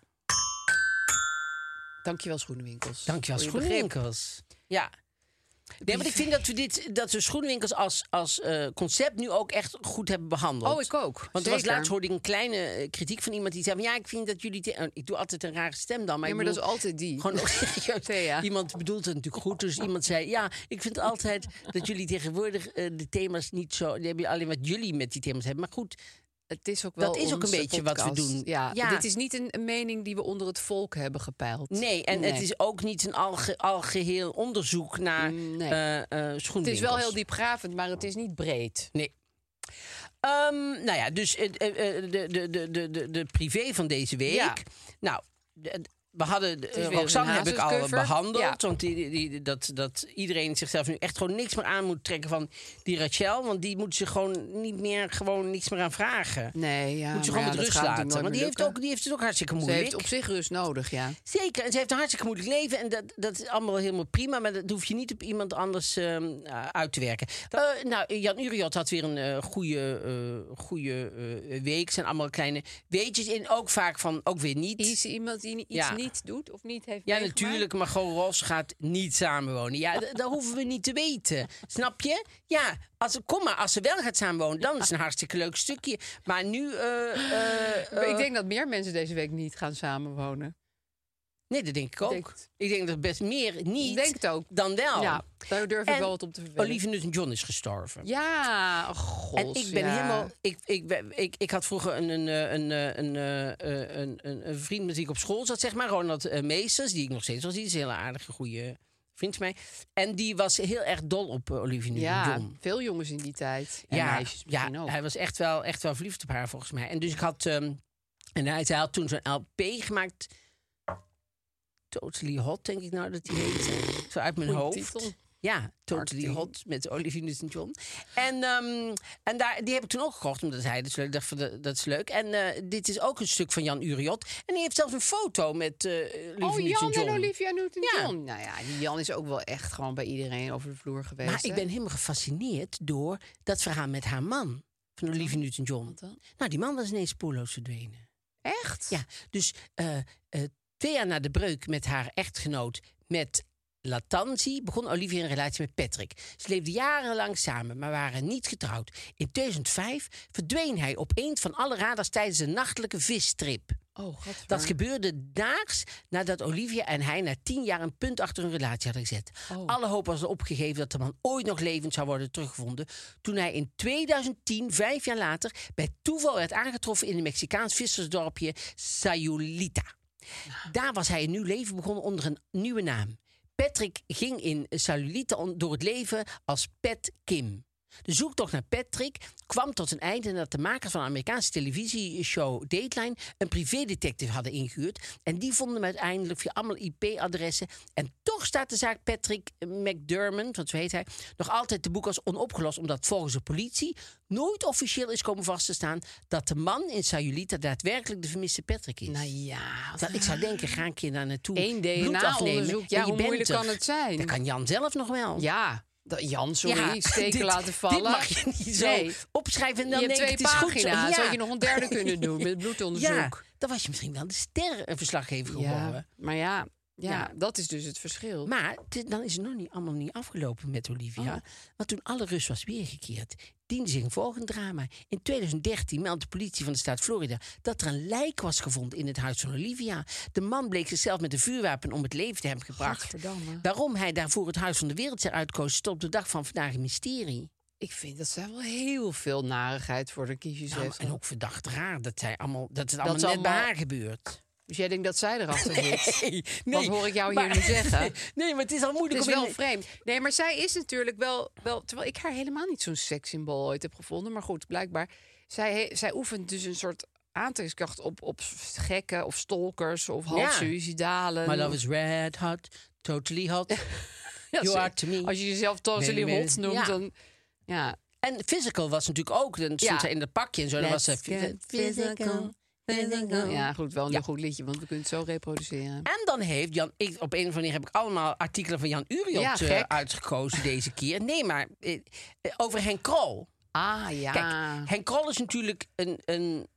Speaker 4: Dankjewel schoenenwinkels.
Speaker 2: Dankjewel,
Speaker 4: Voor je begrip.
Speaker 2: schoenwinkels. Ja. Nee, want ik vind dat we, dit, dat we schoenwinkels als, als eh, concept nu ook echt goed hebben behandeld.
Speaker 4: Oh, ik ook.
Speaker 2: Want er was
Speaker 4: Zeker.
Speaker 2: laatst hoorde ik een kleine eh, kritiek van iemand die zei... Van, ja, ik vind dat jullie... te- eh, Ik doe altijd een rare stem dan. Maar, ik
Speaker 4: Ja, maar dat is
Speaker 2: bedoel-
Speaker 4: altijd die.
Speaker 2: Gewoon
Speaker 4: *laughs*
Speaker 2: ook serieus.
Speaker 4: Thea.
Speaker 2: Iemand bedoelt het natuurlijk goed. Dus iemand zei: Ja, ik vind altijd dat jullie tegenwoordig eh, de thema's niet zo. Die hebben alleen wat jullie met die thema's hebben. Maar goed,
Speaker 4: Het is ook wel
Speaker 2: Dat is ook een
Speaker 4: onze
Speaker 2: beetje wat we
Speaker 4: podcast.
Speaker 2: doen.
Speaker 4: Ja,
Speaker 2: Ja.
Speaker 4: Dit is niet een, een mening die we onder het volk hebben gepeild.
Speaker 2: nee. En het
Speaker 4: Nee.
Speaker 2: is ook niet een alge, algeheel onderzoek naar
Speaker 4: Nee.
Speaker 2: eh, eh,
Speaker 4: het is
Speaker 2: schoenwinkels.
Speaker 4: wel heel diepgravend, maar het is niet breed.
Speaker 2: Nee. Ehm, nou ja, dus eh, eh, eh, de, de, de, de, de, de privé van deze week.
Speaker 4: Ja.
Speaker 2: Nou, de- we hadden de-
Speaker 4: weer
Speaker 2: eh, Roxanne
Speaker 4: een
Speaker 2: heb ik al
Speaker 4: hazescover.
Speaker 2: behandeld.
Speaker 4: Ja.
Speaker 2: Want die, die- die- dat, dat iedereen zichzelf nu echt gewoon niks meer aan moet trekken van die Rachel. Want die moet ze gewoon niet meer gewoon niks meer aan vragen.
Speaker 4: Nee, ja.
Speaker 2: moet ze gewoon
Speaker 4: maar ja,
Speaker 2: met
Speaker 4: dat
Speaker 2: rust
Speaker 4: gaat natuurlijk
Speaker 2: laten.
Speaker 4: nooit
Speaker 2: Want die
Speaker 4: meer
Speaker 2: heeft,
Speaker 4: lukken.
Speaker 2: ook, die heeft het ook hartstikke
Speaker 4: Ze
Speaker 2: moeilijk.
Speaker 4: heeft op zich rust nodig, ja.
Speaker 2: Zeker, en ze heeft een hartstikke moeilijk leven. En dat, dat is allemaal helemaal prima. Maar dat hoef je niet op iemand anders ehm, eh, uit te werken. Eh, nou, Jan Uriot had weer een eh, goede, eh, goede eh, week. zijn allemaal kleine weetjes in. Ook vaak van, ook weer niet.
Speaker 4: Is iemand die iets
Speaker 2: Ja.
Speaker 4: niet doet of niet heeft
Speaker 2: ja,
Speaker 4: meegemaakt?
Speaker 2: natuurlijk, maar gewoon Ros gaat niet samenwonen. Ja, d- dat hoeven we niet te weten. Snap je? Ja, als, kom maar, als ze wel gaat samenwonen, dan is het een hartstikke leuk stukje. Maar nu... eh, eh,
Speaker 4: Maar ik denk dat meer mensen deze week niet gaan samenwonen.
Speaker 2: Nee, dat denk ik ook.
Speaker 4: Denkt-
Speaker 2: Ik denk dat best meer niet
Speaker 4: Denk het ook.
Speaker 2: dan wel.
Speaker 4: Ja, daar durf ik
Speaker 2: Nou. En
Speaker 4: wel wat op te verwedden.
Speaker 2: Olivia Newton-John is gestorven.
Speaker 4: Ja, oh, god.
Speaker 2: En ik ben
Speaker 4: ja.
Speaker 2: helemaal. Ik, ik, ben- ik, ik had vroeger een, een, eh, een, eh, een, eh, eh, een, een, een vriend met wie ik op school zat, zeg maar, Ronald eh, Meesters, die ik nog steeds wel zie. is een hele aardige, goede vriend van mij. En die was heel erg dol op eh, Olivia
Speaker 4: Ja,
Speaker 2: Newton-John.
Speaker 4: veel jongens in die tijd. En meisjes
Speaker 2: ja,
Speaker 4: misschien ook.
Speaker 2: hij was echt wel, echt wel verliefd op haar volgens mij. En dus ik had. ehm, en hij, hij had toen zo'n LP gemaakt. Totally Hot, denk ik nou dat die heette. Zo uit mijn
Speaker 4: Goeie
Speaker 2: hoofd.
Speaker 4: titel.
Speaker 2: Ja, Totally
Speaker 4: Marketing.
Speaker 2: Hot met Olivia Newton-John. En, ehm, en daar, die heb ik toen ook gekocht, omdat hij dus leuk dacht van de- dat is leuk. En eh, dit is ook een stuk van Jan Uriot. En die heeft zelfs een foto met eh Olivia
Speaker 4: Oh, Jan
Speaker 2: Newton-John.
Speaker 4: en Olivia Newton-John.
Speaker 2: Ja.
Speaker 4: Nou ja, die Jan is ook wel echt gewoon bij iedereen over de vloer geweest.
Speaker 2: Maar ik
Speaker 4: hè?
Speaker 2: ben helemaal gefascineerd door dat verhaal met haar man. Van Olivia Newton-John.
Speaker 4: dan?
Speaker 2: Nou, die man was ineens spoorloos verdwenen.
Speaker 4: Echt?
Speaker 2: Ja, dus eh, eh, twee jaar na de breuk met haar echtgenoot, met Latanzi, begon Olivia een relatie met Patrick. Ze leefden jarenlang samen, maar waren niet getrouwd. In 2005 verdween hij opeens van alle radars tijdens een nachtelijke vistrip.
Speaker 4: Oh, god.
Speaker 2: Dat gebeurde daags nadat Olivia en hij na tien jaar een punt achter hun relatie hadden gezet.
Speaker 4: Oh.
Speaker 2: Alle hoop was al opgegeven dat de man ooit nog levend zou worden teruggevonden. Toen hij in 2010, vijf jaar later, bij toeval werd aangetroffen in een Mexicaans vissersdorpje Sayulita. Daar was hij een nieuw leven begonnen onder een nieuwe naam. Patrick ging in Sayulita on- door het leven als Pat Kim. De zoektocht naar Patrick kwam tot een einde nadat de makers van de Amerikaanse televisieshow Dateline een privédetective hadden ingehuurd. En die vonden hem uiteindelijk via allemaal IP-adressen. En toch staat de zaak Patrick McDermott, want zo heet hij, nog altijd te boek als onopgelost. Omdat volgens de politie nooit officieel is komen vast te staan dat de man in Sayulita daadwerkelijk de vermiste Patrick is.
Speaker 4: Nou ja.
Speaker 2: Dat ik zou denken, ga een keer daar naartoe.
Speaker 4: Eén
Speaker 2: bloed
Speaker 4: DNA
Speaker 2: afnemen,
Speaker 4: onderzoek,
Speaker 2: en
Speaker 4: ja,
Speaker 2: je
Speaker 4: hoe
Speaker 2: bent
Speaker 4: moeilijk
Speaker 2: er.
Speaker 4: kan het zijn?
Speaker 2: Dat kan Jan zelf nog wel.
Speaker 4: Ja. dat- Jan, sorry. steken
Speaker 2: *laughs* dit-
Speaker 4: laten vallen.
Speaker 2: Dit mag je niet zo
Speaker 4: Nee.
Speaker 2: opschrijven en dan
Speaker 4: je hebt
Speaker 2: denk
Speaker 4: twee
Speaker 2: ik, het is goed zo.
Speaker 4: pagina's.
Speaker 2: Ja.
Speaker 4: Zou je nog een derde
Speaker 2: *laughs*
Speaker 4: kunnen doen met bloedonderzoek?
Speaker 2: Ja, dan was je misschien wel de sterrenverslaggever geworden.
Speaker 4: Ja, maar ja, ja,
Speaker 2: Ja.
Speaker 4: dat is dus het verschil.
Speaker 2: Maar dit- dan is het nog niet allemaal niet afgelopen met
Speaker 4: Oh.
Speaker 2: Olivia. Want toen alle rust was weergekeerd, diende zich een volgend drama. In 2013 meldde de politie van de staat Florida dat er een lijk was gevonden in het huis van Olivia. De man bleek zichzelf met een vuurwapen om het leven te hebben gebracht.
Speaker 4: Gadverdamme.
Speaker 2: Waarom hij daarvoor het huis van de wereld eruit koos, is tot op de dag van vandaag een mysterie.
Speaker 4: ik vind dat zij wel heel veel narigheid voor de kiesjes
Speaker 2: Nou,
Speaker 4: heeft.
Speaker 2: en
Speaker 4: gehad.
Speaker 2: ook verdacht raar dat, zij allemaal, dat het
Speaker 4: Dat
Speaker 2: allemaal
Speaker 4: is
Speaker 2: net bij
Speaker 4: allemaal-
Speaker 2: haar gebeurt. *laughs*
Speaker 4: Dus jij denkt dat zij erachter zit?
Speaker 2: Nee,
Speaker 4: Wat hoor ik jou hier nu zeggen?
Speaker 2: *laughs* Nee, maar het is al moeilijk
Speaker 4: Het
Speaker 2: om
Speaker 4: is
Speaker 2: in
Speaker 4: wel
Speaker 2: de-
Speaker 4: vreemd. Nee, maar zij is natuurlijk wel, wel... Terwijl ik haar helemaal niet zo'n sekssymbool ooit heb gevonden. Maar goed, blijkbaar. Zij, he- zij oefent dus een soort aantrekkingskracht op, op gekken of stalkers of half
Speaker 2: Ja.
Speaker 4: suïcidalen.
Speaker 2: My love is red hot, totally hot.
Speaker 4: *laughs* Ja,
Speaker 2: you
Speaker 4: ze-
Speaker 2: are to me.
Speaker 4: Als je jezelf totally
Speaker 2: Baby.
Speaker 4: hot noemt,
Speaker 2: Ja.
Speaker 4: dan... Ja,
Speaker 2: En physical was natuurlijk ook. Dan stond
Speaker 4: Ja.
Speaker 2: ze in dat pakje en zo. Dan was
Speaker 4: Let's
Speaker 2: ze
Speaker 4: get physical,
Speaker 2: physical.
Speaker 4: ja, goed, wel een
Speaker 2: Ja.
Speaker 4: goed liedje, want we kunnen het zo reproduceren.
Speaker 2: En dan heeft Jan, ik, op een of andere manier heb ik allemaal artikelen van Jan Uriot
Speaker 4: Ja,
Speaker 2: eh,
Speaker 4: gek.
Speaker 2: uitgekozen deze keer. Nee, maar eh, eh, over Henk Krol.
Speaker 4: Ah, ja.
Speaker 2: Kijk, Henk Krol is natuurlijk een, een,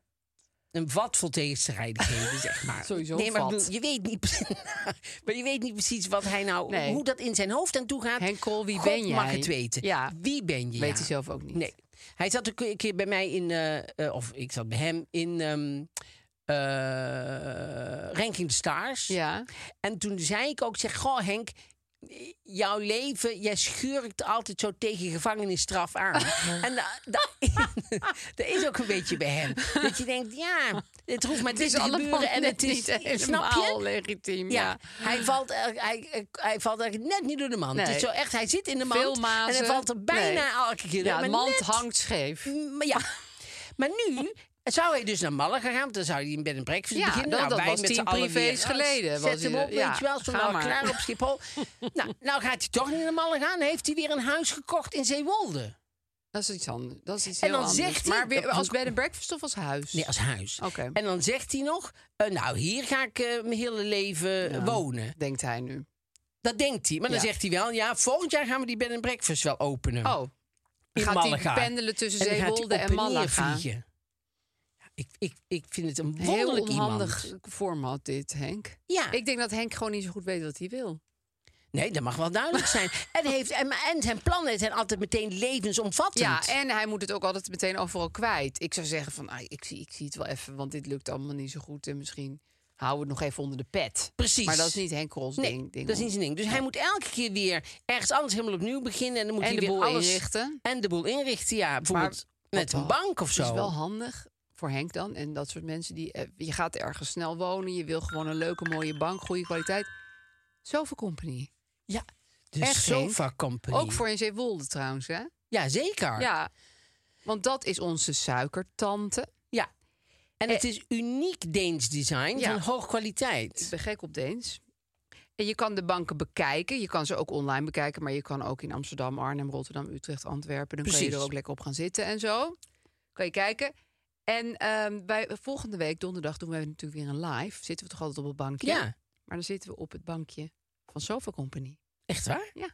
Speaker 2: een vat vol tegenstrijdigheden, *laughs* zeg maar.
Speaker 4: *laughs* Sowieso
Speaker 2: nee, maar ik
Speaker 4: vat.
Speaker 2: bedoel, je weet niet, pre- *laughs* maar je weet niet precies wat hij nou,
Speaker 4: Nee.
Speaker 2: hoe dat in zijn hoofd aan toe gaat.
Speaker 4: Henk Krol, wie
Speaker 2: God
Speaker 4: ben
Speaker 2: mag
Speaker 4: jij?
Speaker 2: het weten.
Speaker 4: Ja.
Speaker 2: Wie ben je?
Speaker 4: Weet
Speaker 2: ja.
Speaker 4: hij zelf ook niet.
Speaker 2: Nee. Hij zat ook een keer bij mij in, eh, eh, of ik zat bij hem in ehm, eh, Ranking the Stars.
Speaker 4: Ja.
Speaker 2: En toen zei ik ook, ik zeg, goh Henk, jouw leven, jij schurkt altijd zo tegen gevangenisstraf
Speaker 4: *laughs*
Speaker 2: aan. en da- da- *laughs* dat is ook een beetje bij hem. Dat je denkt, ja, het hoeft maar dit te gebeuren. En het is,
Speaker 4: net niet
Speaker 2: *laughs* snap
Speaker 4: helemaal
Speaker 2: je?
Speaker 4: legitiem.
Speaker 2: Ja,
Speaker 4: ja.
Speaker 2: Hij, valt, er- hij, eh, hij valt eigenlijk net niet door de mand.
Speaker 4: Nee.
Speaker 2: Het is zo echt, hij zit in de mand
Speaker 4: Veel
Speaker 2: en hij
Speaker 4: mazen.
Speaker 2: valt er bijna
Speaker 4: Nee.
Speaker 2: elke keer door.
Speaker 4: Ja, de
Speaker 2: maar
Speaker 4: mand
Speaker 2: net-
Speaker 4: hangt scheef.
Speaker 2: Maar ja, maar nu zou hij dus naar Malaga gaan. want Dan zou hij in bed en breakfast
Speaker 4: Ja,
Speaker 2: beginnen.
Speaker 4: dat-
Speaker 2: nou,
Speaker 4: dat
Speaker 2: wij
Speaker 4: was
Speaker 2: met z'n
Speaker 4: tien
Speaker 2: allen
Speaker 4: privés
Speaker 2: weer,
Speaker 4: geleden,
Speaker 2: ah,
Speaker 4: was
Speaker 2: Zet hem
Speaker 4: hij-
Speaker 2: op,
Speaker 4: ja,
Speaker 2: weet je wel. Stond
Speaker 4: ga
Speaker 2: al
Speaker 4: maar.
Speaker 2: klaar op
Speaker 4: *laughs*
Speaker 2: Schiphol. nou, nou gaat hij toch niet naar Malaga. Dan heeft hij weer een huis gekocht in Zeewolde.
Speaker 4: Dat is iets anders. Dat is iets
Speaker 2: En
Speaker 4: heel
Speaker 2: dan
Speaker 4: anders.
Speaker 2: zegt hij-
Speaker 4: maar weer als bed and breakfast of als huis?
Speaker 2: Nee, als huis.
Speaker 4: Oké.
Speaker 2: En dan zegt hij nog... eh, nou, hier ga ik eh, mijn hele leven eh, wonen.
Speaker 4: Denkt hij nu.
Speaker 2: Dat denkt hij. Maar dan
Speaker 4: Ja.
Speaker 2: zegt hij wel... Ja, volgend jaar gaan we die bed en breakfast wel openen.
Speaker 4: Oh,
Speaker 2: in
Speaker 4: gaat
Speaker 2: Malaga.
Speaker 4: hij pendelen tussen
Speaker 2: en dan gaat
Speaker 4: Zeewolde
Speaker 2: hij
Speaker 4: en
Speaker 2: op en neer
Speaker 4: Malaga?
Speaker 2: vliegen. Ja, Ik, ik, ik vind het een
Speaker 4: Heel
Speaker 2: wonderlijk
Speaker 4: onhandig
Speaker 2: iemand.
Speaker 4: format dit, Henk.
Speaker 2: Ja.
Speaker 4: Ik denk dat Henk gewoon niet zo goed weet wat hij wil.
Speaker 2: Nee, dat mag wel
Speaker 4: *laughs*
Speaker 2: duidelijk zijn. en, heeft, en, en zijn plannen zijn altijd meteen levensomvattend.
Speaker 4: Ja, en hij moet het ook altijd meteen overal kwijt. Ik zou zeggen van, ah, ik, zie, ik zie het wel even, want dit lukt allemaal niet zo goed. En misschien houden we het nog even onder de pet.
Speaker 2: Precies.
Speaker 4: Maar dat is niet Henk Krols
Speaker 2: Nee,
Speaker 4: ding, ding.
Speaker 2: dat is niet zijn ding. Dus hij moet elke keer weer ergens anders helemaal opnieuw beginnen. En dan moet
Speaker 4: En
Speaker 2: hij
Speaker 4: de
Speaker 2: weer
Speaker 4: boel
Speaker 2: alles
Speaker 4: inrichten.
Speaker 2: En de boel inrichten, ja. Bijvoorbeeld met
Speaker 4: wat
Speaker 2: een
Speaker 4: wel-
Speaker 2: bank of zo.
Speaker 4: Het is wel handig voor Henk dan. En dat soort mensen die. eh, Je gaat ergens snel wonen. Je wil gewoon een leuke, mooie bank, goede kwaliteit. Zoveel company.
Speaker 2: ja, de
Speaker 4: Echt,
Speaker 2: sofa
Speaker 4: Henk.
Speaker 2: company.
Speaker 4: Ook voor in Zeewolde trouwens, hè?
Speaker 2: Ja, zeker.
Speaker 4: Ja. Want dat is onze suikertante.
Speaker 2: Ja. En
Speaker 4: Eh,
Speaker 2: het is uniek Deens design
Speaker 4: Ja.
Speaker 2: van hoog
Speaker 4: Ik
Speaker 2: kwaliteit.
Speaker 4: ben gek op Deens. En je kan de banken bekijken. Je kan ze ook online bekijken. Maar je kan ook in Amsterdam, Arnhem, Rotterdam, Utrecht, Antwerpen. Dan kan je
Speaker 2: Precies.
Speaker 4: er ook lekker op gaan zitten en zo. Kan je kijken. En ehm bij, volgende week, donderdag, doen we natuurlijk weer een live. Zitten we toch altijd op het bankje?
Speaker 2: Ja.
Speaker 4: Maar dan zitten we op het bankje van Sofa Company.
Speaker 2: Echt waar?
Speaker 4: Ja.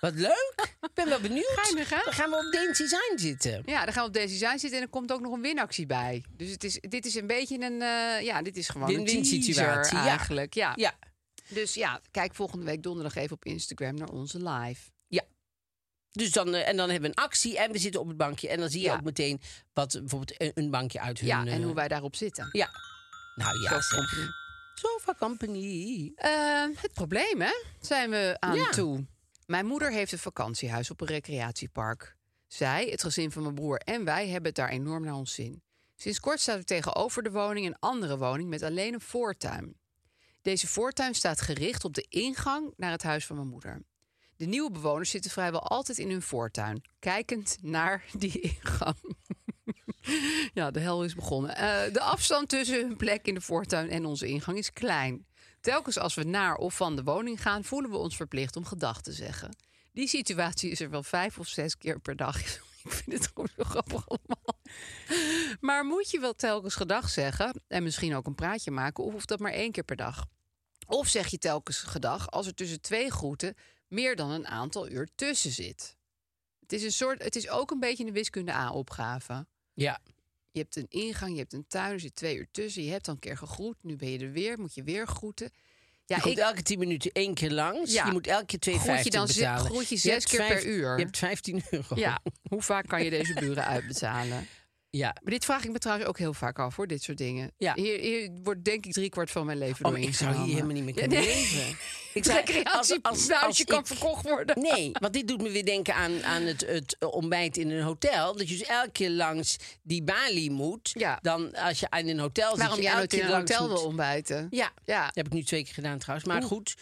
Speaker 2: Wat leuk. Ik ben wel benieuwd.
Speaker 4: Geinig, hè?
Speaker 2: Dan gaan we op Deens design zitten.
Speaker 4: Ja, dan gaan we op deze design zitten en er komt ook nog een winactie bij. Dus het is, dit is een beetje een... eh, ja, dit is gewoon een
Speaker 2: Win-win
Speaker 4: teaser
Speaker 2: situatie, ja.
Speaker 4: eigenlijk. Ja.
Speaker 2: Ja.
Speaker 4: Dus ja, kijk volgende week donderdag even op Instagram naar onze live.
Speaker 2: Dus dan, eh, en dan hebben we een actie en we zitten op het bankje. En dan zie je
Speaker 4: Ja.
Speaker 2: ook meteen wat eh, bijvoorbeeld een, een bankje uit hun...
Speaker 4: Ja, en
Speaker 2: eh,
Speaker 4: hoe wij daarop zitten.
Speaker 2: Ja. Nou ja,
Speaker 4: Sofa
Speaker 2: zeg.
Speaker 4: Company.
Speaker 2: Sofa Company.
Speaker 4: Eh, het probleem, hè? Zijn we aan
Speaker 2: Ja.
Speaker 4: toe. Mijn moeder heeft een vakantiehuis op een recreatiepark. Zij, het gezin van mijn broer en wij hebben het daar enorm naar ons zin. Sinds kort staat er tegenover de woning een andere woning met alleen een voortuin. Deze voortuin staat gericht op de ingang naar het huis van mijn moeder. De nieuwe bewoners zitten vrijwel altijd in hun voortuin, kijkend naar die ingang. Ja, de hel is begonnen. Eh, de afstand tussen hun plek in de voortuin en onze ingang is klein. Telkens als we naar of van de woning gaan, voelen we ons verplicht om gedag te zeggen. Die situatie is er wel vijf of zes keer per dag. *laughs* Ik vind het gewoon zo grappig allemaal. Maar moet je wel telkens gedag zeggen en misschien ook een praatje maken, of hoeft dat maar één keer per dag? Of zeg je telkens gedag als er tussen twee groeten meer dan een aantal uur tussen zit? Het is, een soort, het is ook een beetje een wiskunde A-opgave.
Speaker 2: Ja.
Speaker 4: Je hebt een ingang, je hebt een tuin, er zit twee uur tussen. Je hebt dan een keer gegroet, nu ben je er weer, moet je weer groeten. Ja,
Speaker 2: je komt elke 10 minuten één keer langs.
Speaker 4: Ja.
Speaker 2: Je moet elke keer 2,50
Speaker 4: Groet je dan ze-
Speaker 2: betalen.
Speaker 4: groet je
Speaker 2: Je
Speaker 4: zes
Speaker 2: hebt
Speaker 4: keer per
Speaker 2: vijf-
Speaker 4: uur.
Speaker 2: Je hebt 15 euro. *laughs*
Speaker 4: ja, hoe vaak kan je deze buren uitbetalen?
Speaker 2: ja.
Speaker 4: Maar dit vraag ik me trouwens ook heel vaak af, hoor, dit soort dingen.
Speaker 2: Ja.
Speaker 4: Hier, hier wordt denk ik driekwart van mijn leven
Speaker 2: Oh,
Speaker 4: door
Speaker 2: maar ik zou hier
Speaker 4: ingenomen.
Speaker 2: helemaal niet meer
Speaker 4: Ja,
Speaker 2: kunnen
Speaker 4: nee. *laughs*
Speaker 2: leven. Ik
Speaker 4: Het
Speaker 2: zou-
Speaker 4: recreatiehuisje kan
Speaker 2: ik-
Speaker 4: verkocht worden.
Speaker 2: Nee, want dit doet me weer denken aan, aan het, het eh, ontbijt in een hotel. Dat je dus elke keer langs die balie moet.
Speaker 4: Ja.
Speaker 2: Dan als je aan een hotel zit,
Speaker 4: Waarom
Speaker 2: je
Speaker 4: jij
Speaker 2: elke
Speaker 4: nooit in
Speaker 2: keer
Speaker 4: een
Speaker 2: langs
Speaker 4: hotel
Speaker 2: moet.
Speaker 4: wil ontbijten?
Speaker 2: Ja.
Speaker 4: Ja.
Speaker 2: dat heb ik nu twee keer gedaan trouwens. Maar goed,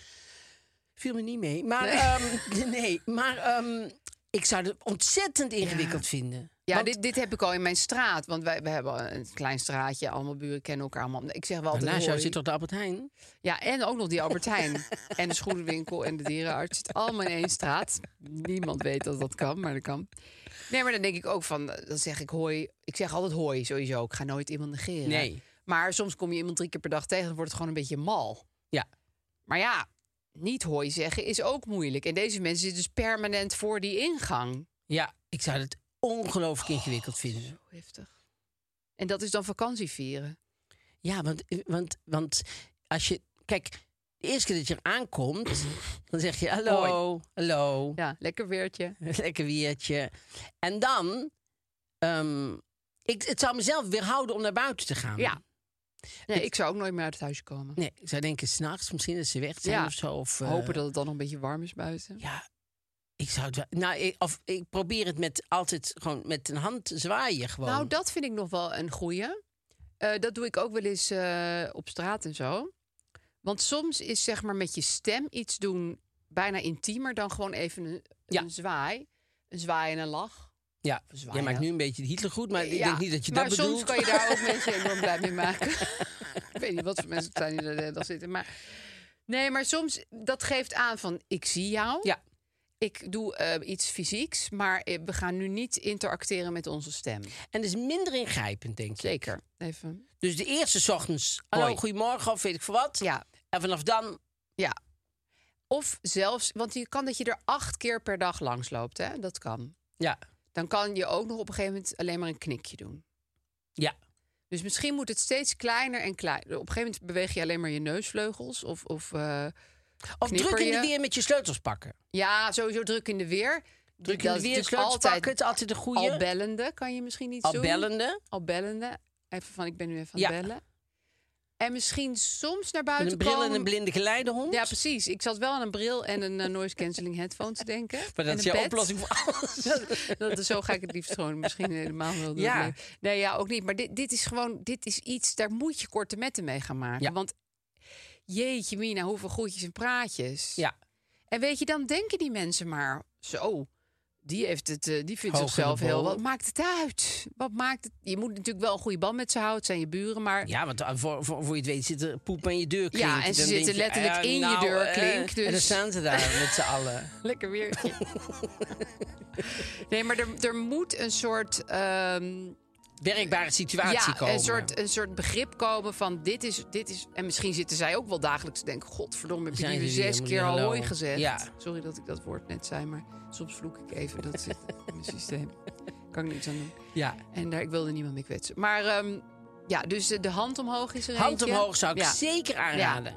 Speaker 2: viel me niet mee. Maar,
Speaker 4: Nee.
Speaker 2: ehm, *laughs* nee, maar ehm, ik zou het ontzettend ingewikkeld vinden.
Speaker 4: Ja,
Speaker 2: Want-
Speaker 4: dit, dit heb ik al in mijn straat. Want wij, we hebben een klein straatje. Allemaal buren kennen elkaar allemaal. Ik zeg wel altijd
Speaker 2: Naast jou
Speaker 4: hoi.
Speaker 2: zit toch de Albert Heijn?
Speaker 4: Ja, en ook nog die Albert Heijn. *laughs* en de schoenenwinkel en de dierenarts. Het allemaal in één straat. Niemand weet dat dat kan, maar dat kan. Nee, maar dan denk ik ook van... eh, Dan zeg ik hoi. Ik zeg altijd hoi, sowieso. Ik ga nooit iemand negeren.
Speaker 2: Nee.
Speaker 4: Maar soms kom je iemand drie keer per dag tegen... dan wordt het gewoon een beetje mal.
Speaker 2: Ja.
Speaker 4: Maar ja, niet hoi zeggen is ook moeilijk. En deze mensen zitten dus permanent voor die ingang.
Speaker 2: Ja, ik zou het ongelooflijk ingewikkeld vinden.
Speaker 4: Oh, Zo heftig. En dat is dan vakantie vieren.
Speaker 2: Ja, want, eh, want, want als je. Kijk, de eerste keer dat je aankomt,
Speaker 4: *laughs*
Speaker 2: dan zeg je hallo,
Speaker 4: Oh.
Speaker 2: hallo, *laughs*
Speaker 4: Ja, lekker weertje.
Speaker 2: lekker weertje. En dan. ehm, ik, het zou mezelf weerhouden om naar buiten te gaan.
Speaker 4: Ja. Nee, ik zou ook nooit meer uit het huisje komen.
Speaker 2: Nee, ik zou denken, s'nachts misschien dat ze weg zijn
Speaker 4: Ja.
Speaker 2: of zo. Of, eh,
Speaker 4: Hopen dat het dan nog een beetje warm is buiten.
Speaker 2: Ja, ik zou het wel. Nou, ik, of ik probeer het met altijd gewoon met een hand zwaaien. Gewoon.
Speaker 4: Nou, dat vind ik nog wel een goeie. Eh, dat doe ik ook wel eens eh, op straat en zo. Want soms is zeg maar met je stem iets doen bijna intiemer dan gewoon even een,
Speaker 2: Ja.
Speaker 4: een zwaai. Een zwaai en een lach.
Speaker 2: ja,
Speaker 4: zwaaien.
Speaker 2: jij maakt nu een beetje de Hitler goed, maar ik
Speaker 4: Ja,
Speaker 2: denk niet dat je
Speaker 4: maar
Speaker 2: dat bedoelt.
Speaker 4: soms kan je daar ook mensen enorm blij mee maken. *laughs* ik weet niet wat voor mensen het zijn die daar de hele dag zitten. Maar nee, maar soms dat geeft aan van ik zie jou.
Speaker 2: *laughs* Ja,
Speaker 4: Ik doe eh, iets fysieks, maar eh, we gaan nu niet interacteren met onze stem.
Speaker 2: en dat is minder ingrijpend, denk ik.
Speaker 4: Zeker. Even
Speaker 2: Dus de eerste ochtends, hallo,
Speaker 4: Hoi.
Speaker 2: goedemorgen of weet ik veel wat.
Speaker 4: Ja.
Speaker 2: En vanaf dan,
Speaker 4: Ja. Of zelfs, want je kan dat je er acht keer per dag langs loopt, hè? Dat kan.
Speaker 2: ja,
Speaker 4: Dan kan je ook nog op een gegeven moment alleen maar een knikje doen.
Speaker 2: ja.
Speaker 4: Dus misschien moet het steeds kleiner en kleiner. Op een gegeven moment beweeg je alleen maar je neusvleugels. Of, of eh,
Speaker 2: Of
Speaker 4: Knipper
Speaker 2: druk in
Speaker 4: je?
Speaker 2: de weer met je sleutels pakken.
Speaker 4: ja, sowieso druk in de weer.
Speaker 2: Druk in
Speaker 4: Dat
Speaker 2: de
Speaker 4: is
Speaker 2: weer,
Speaker 4: natuurlijk
Speaker 2: sleutels pakken, het is altijd de goede.
Speaker 4: Al bellende kan je misschien niet
Speaker 2: Al
Speaker 4: doen.
Speaker 2: bellende.
Speaker 4: Al bellende. Even van, ik ben nu even aan het
Speaker 2: Ja.
Speaker 4: bellen. En misschien soms naar buiten
Speaker 2: Met een bril en
Speaker 4: komen.
Speaker 2: een blinde geleidehond.
Speaker 4: Ja, precies. Ik zat wel aan een bril en een eh, noise cancelling headphone te denken.
Speaker 2: *laughs* Maar
Speaker 4: En
Speaker 2: dat is
Speaker 4: een
Speaker 2: jouw
Speaker 4: pet.
Speaker 2: oplossing voor alles.
Speaker 4: *laughs* Dat, zo ga ik het liefst gewoon misschien helemaal wel doen.
Speaker 2: Ja.
Speaker 4: Nee. Nee, ja, ook niet. Maar dit, dit is gewoon, dit is iets, daar moet je korte metten mee gaan maken.
Speaker 2: Ja.
Speaker 4: Want jeetje mina, hoeveel groetjes en praatjes.
Speaker 2: Ja.
Speaker 4: En weet je, dan denken die mensen maar zo. Die, heeft het, eh, die vindt
Speaker 2: Hoog in
Speaker 4: zichzelf
Speaker 2: de
Speaker 4: heel...
Speaker 2: bol.
Speaker 4: Wat maakt het uit? Wat maakt het... Je moet natuurlijk wel een goede band met ze houden. Het zijn je buren, maar...
Speaker 2: Ja, want eh, voor, voor, voor je het weet zit er poep aan je deurklink.
Speaker 4: Ja, en ze
Speaker 2: Dan denk
Speaker 4: zitten
Speaker 2: je,
Speaker 4: letterlijk
Speaker 2: eh,
Speaker 4: in je
Speaker 2: nou,
Speaker 4: deurklink,
Speaker 2: eh, En dan
Speaker 4: dus-
Speaker 2: staan ze daar met z'n allen.
Speaker 4: *laughs*
Speaker 2: *laughs*
Speaker 4: Lekker weer. nee, maar er, er moet een soort... ehm,
Speaker 2: Werkbare situatie
Speaker 4: ja,
Speaker 2: komen.
Speaker 4: Een soort, eh, een soort begrip komen van dit is, dit is... En misschien zitten zij ook wel dagelijks te denken... Godverdomme, heb je
Speaker 2: Zijn
Speaker 4: nu weer
Speaker 2: jullie
Speaker 4: zes
Speaker 2: helemaal
Speaker 4: keer
Speaker 2: niet
Speaker 4: alhooi
Speaker 2: hallo?
Speaker 4: gezegd?
Speaker 2: Ja.
Speaker 4: Sorry dat ik dat woord net zei, maar soms vloek ik even.
Speaker 2: *laughs*
Speaker 4: Dat zit in mijn systeem. Kan ik niks aan doen.
Speaker 2: Ja.
Speaker 4: En daar, ik wilde niemand mee kwetsen. Maar ehm, ja, dus eh, de hand omhoog is er
Speaker 2: Hand
Speaker 4: eentje.
Speaker 2: omhoog zou ik
Speaker 4: ja.
Speaker 2: zeker aanraden.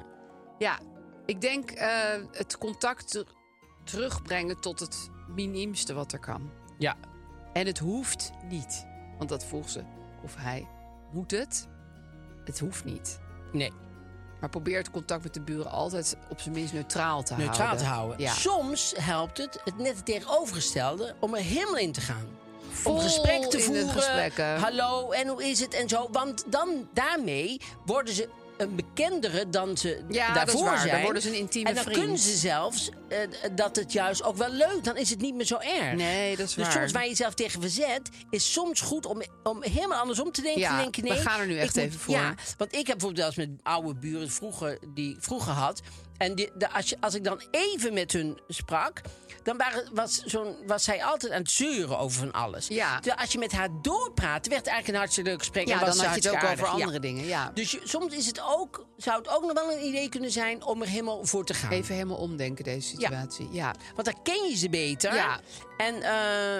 Speaker 4: Ja, ik denk eh, het contact ter- terugbrengen tot het minimste wat er kan.
Speaker 2: Ja.
Speaker 4: En het hoeft niet. Want dat vroeg ze. Of hij moet het. Het hoeft niet.
Speaker 2: Nee,
Speaker 4: Maar probeer het contact met de buren altijd op zijn minst neutraal te houden.
Speaker 2: neutraal te houden.
Speaker 4: Ja.
Speaker 2: Soms helpt het, het net tegenovergestelde, om er helemaal in te gaan.
Speaker 4: Vol
Speaker 2: om gesprek te
Speaker 4: in de
Speaker 2: voeren.
Speaker 4: gesprekken.
Speaker 2: Hallo, en hoe is het en zo. Want dan daarmee worden ze een bekendere dan ze
Speaker 4: Ja, dat
Speaker 2: daarvoor
Speaker 4: is waar. Dan
Speaker 2: zijn.
Speaker 4: worden ze een intieme
Speaker 2: En dan
Speaker 4: vriend.
Speaker 2: kunnen ze zelfs eh, dat het juist ook wel leuk. Dan is het niet meer zo erg.
Speaker 4: Nee, dat is
Speaker 2: dus
Speaker 4: waar.
Speaker 2: soms waar je jezelf tegen verzet, is soms goed om, om helemaal andersom te denken.
Speaker 4: Ja,
Speaker 2: te denken
Speaker 4: we
Speaker 2: nee,
Speaker 4: gaan er nu
Speaker 2: ik
Speaker 4: echt
Speaker 2: moet-
Speaker 4: even voor.
Speaker 2: Ja, want ik heb bijvoorbeeld wel eens met oude buren vroeger, die ik vroeger had. En die, de- als, je, als ik dan even met hun sprak, dan waren, was, zo'n, was zij altijd aan het zeuren over van alles.
Speaker 4: Ja.
Speaker 2: Terwijl als je met haar doorpraat, werd het eigenlijk een hartstikke leuk gesprek.
Speaker 4: Ja,
Speaker 2: en was
Speaker 4: dan
Speaker 2: ze
Speaker 4: had je het ook
Speaker 2: hartstikke
Speaker 4: over
Speaker 2: aardig.
Speaker 4: andere
Speaker 2: Ja.
Speaker 4: dingen. Ja.
Speaker 2: Dus je- soms is het ook, zou het ook nog wel een idee kunnen zijn om er helemaal voor te gaan.
Speaker 4: Even helemaal omdenken deze situatie. Ja.
Speaker 2: Want dan ken je ze beter.
Speaker 4: Ja.
Speaker 2: En eh,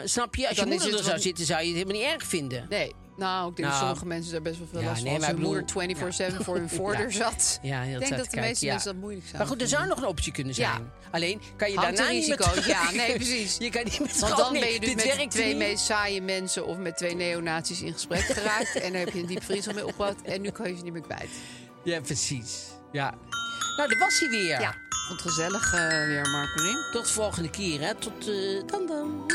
Speaker 2: snap je, als
Speaker 4: Dan
Speaker 2: je
Speaker 4: is
Speaker 2: moeder
Speaker 4: het
Speaker 2: er zou
Speaker 4: wat-
Speaker 2: zitten, zou je het helemaal niet erg vinden.
Speaker 4: Nee. Nou, ik denk dat
Speaker 2: Nou.
Speaker 4: sommige mensen daar best wel veel
Speaker 2: Ja,
Speaker 4: last van
Speaker 2: nee,
Speaker 4: als
Speaker 2: maar
Speaker 4: hun
Speaker 2: ik
Speaker 4: moeder
Speaker 2: bedoel-
Speaker 4: 24-7
Speaker 2: *laughs*
Speaker 4: voor hun voordeur zat.
Speaker 2: Ja, heel
Speaker 4: ik denk
Speaker 2: tijd
Speaker 4: dat de
Speaker 2: kijken,
Speaker 4: meeste
Speaker 2: ja.
Speaker 4: mensen dat moeilijk zouden
Speaker 2: Maar goed, dus er
Speaker 4: vinden.
Speaker 2: zou nog een optie kunnen
Speaker 4: Ja.
Speaker 2: zijn. Alleen kan je
Speaker 4: Hangt
Speaker 2: daarna
Speaker 4: een
Speaker 2: niet meer
Speaker 4: risico.
Speaker 2: terug.
Speaker 4: Ja,
Speaker 2: *laughs*
Speaker 4: nee, precies.
Speaker 2: Je kan niet meer
Speaker 4: Want
Speaker 2: terug.
Speaker 4: dan
Speaker 2: Nee,
Speaker 4: ben je dus
Speaker 2: dit
Speaker 4: met de
Speaker 2: werkt
Speaker 4: twee
Speaker 2: niet.
Speaker 4: meest saaie mensen of met twee neonazies in
Speaker 2: *laughs*
Speaker 4: gesprek geraakt. en daar heb je een diep vriendschap mee opgebouwd. En nu kan je ze niet meer kwijt.
Speaker 2: Ja, precies. Ja. Nou, daar was hij weer.
Speaker 4: Ja, vond het gezellig eh, weer, Marcolien.
Speaker 2: Tot de volgende keer, hè. Tot eh, dan dan.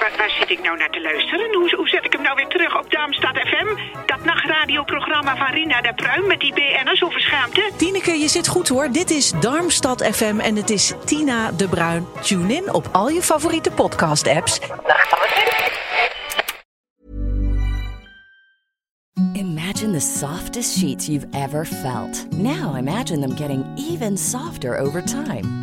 Speaker 5: Waar, waar zit ik nou naar te luisteren? Hoe, hoe zet ik hem nou weer terug op Darmstad FM? Dat nachtradioprogramma van Rina de Pruim met die BN'ers over schaamte?
Speaker 6: Tineke, je zit goed hoor. Dit is Darmstad FM en het is Tina de Bruin. Tune in op al je favoriete podcast-apps
Speaker 7: Imagine the softest sheets you've ever felt. Now imagine them getting even softer over time.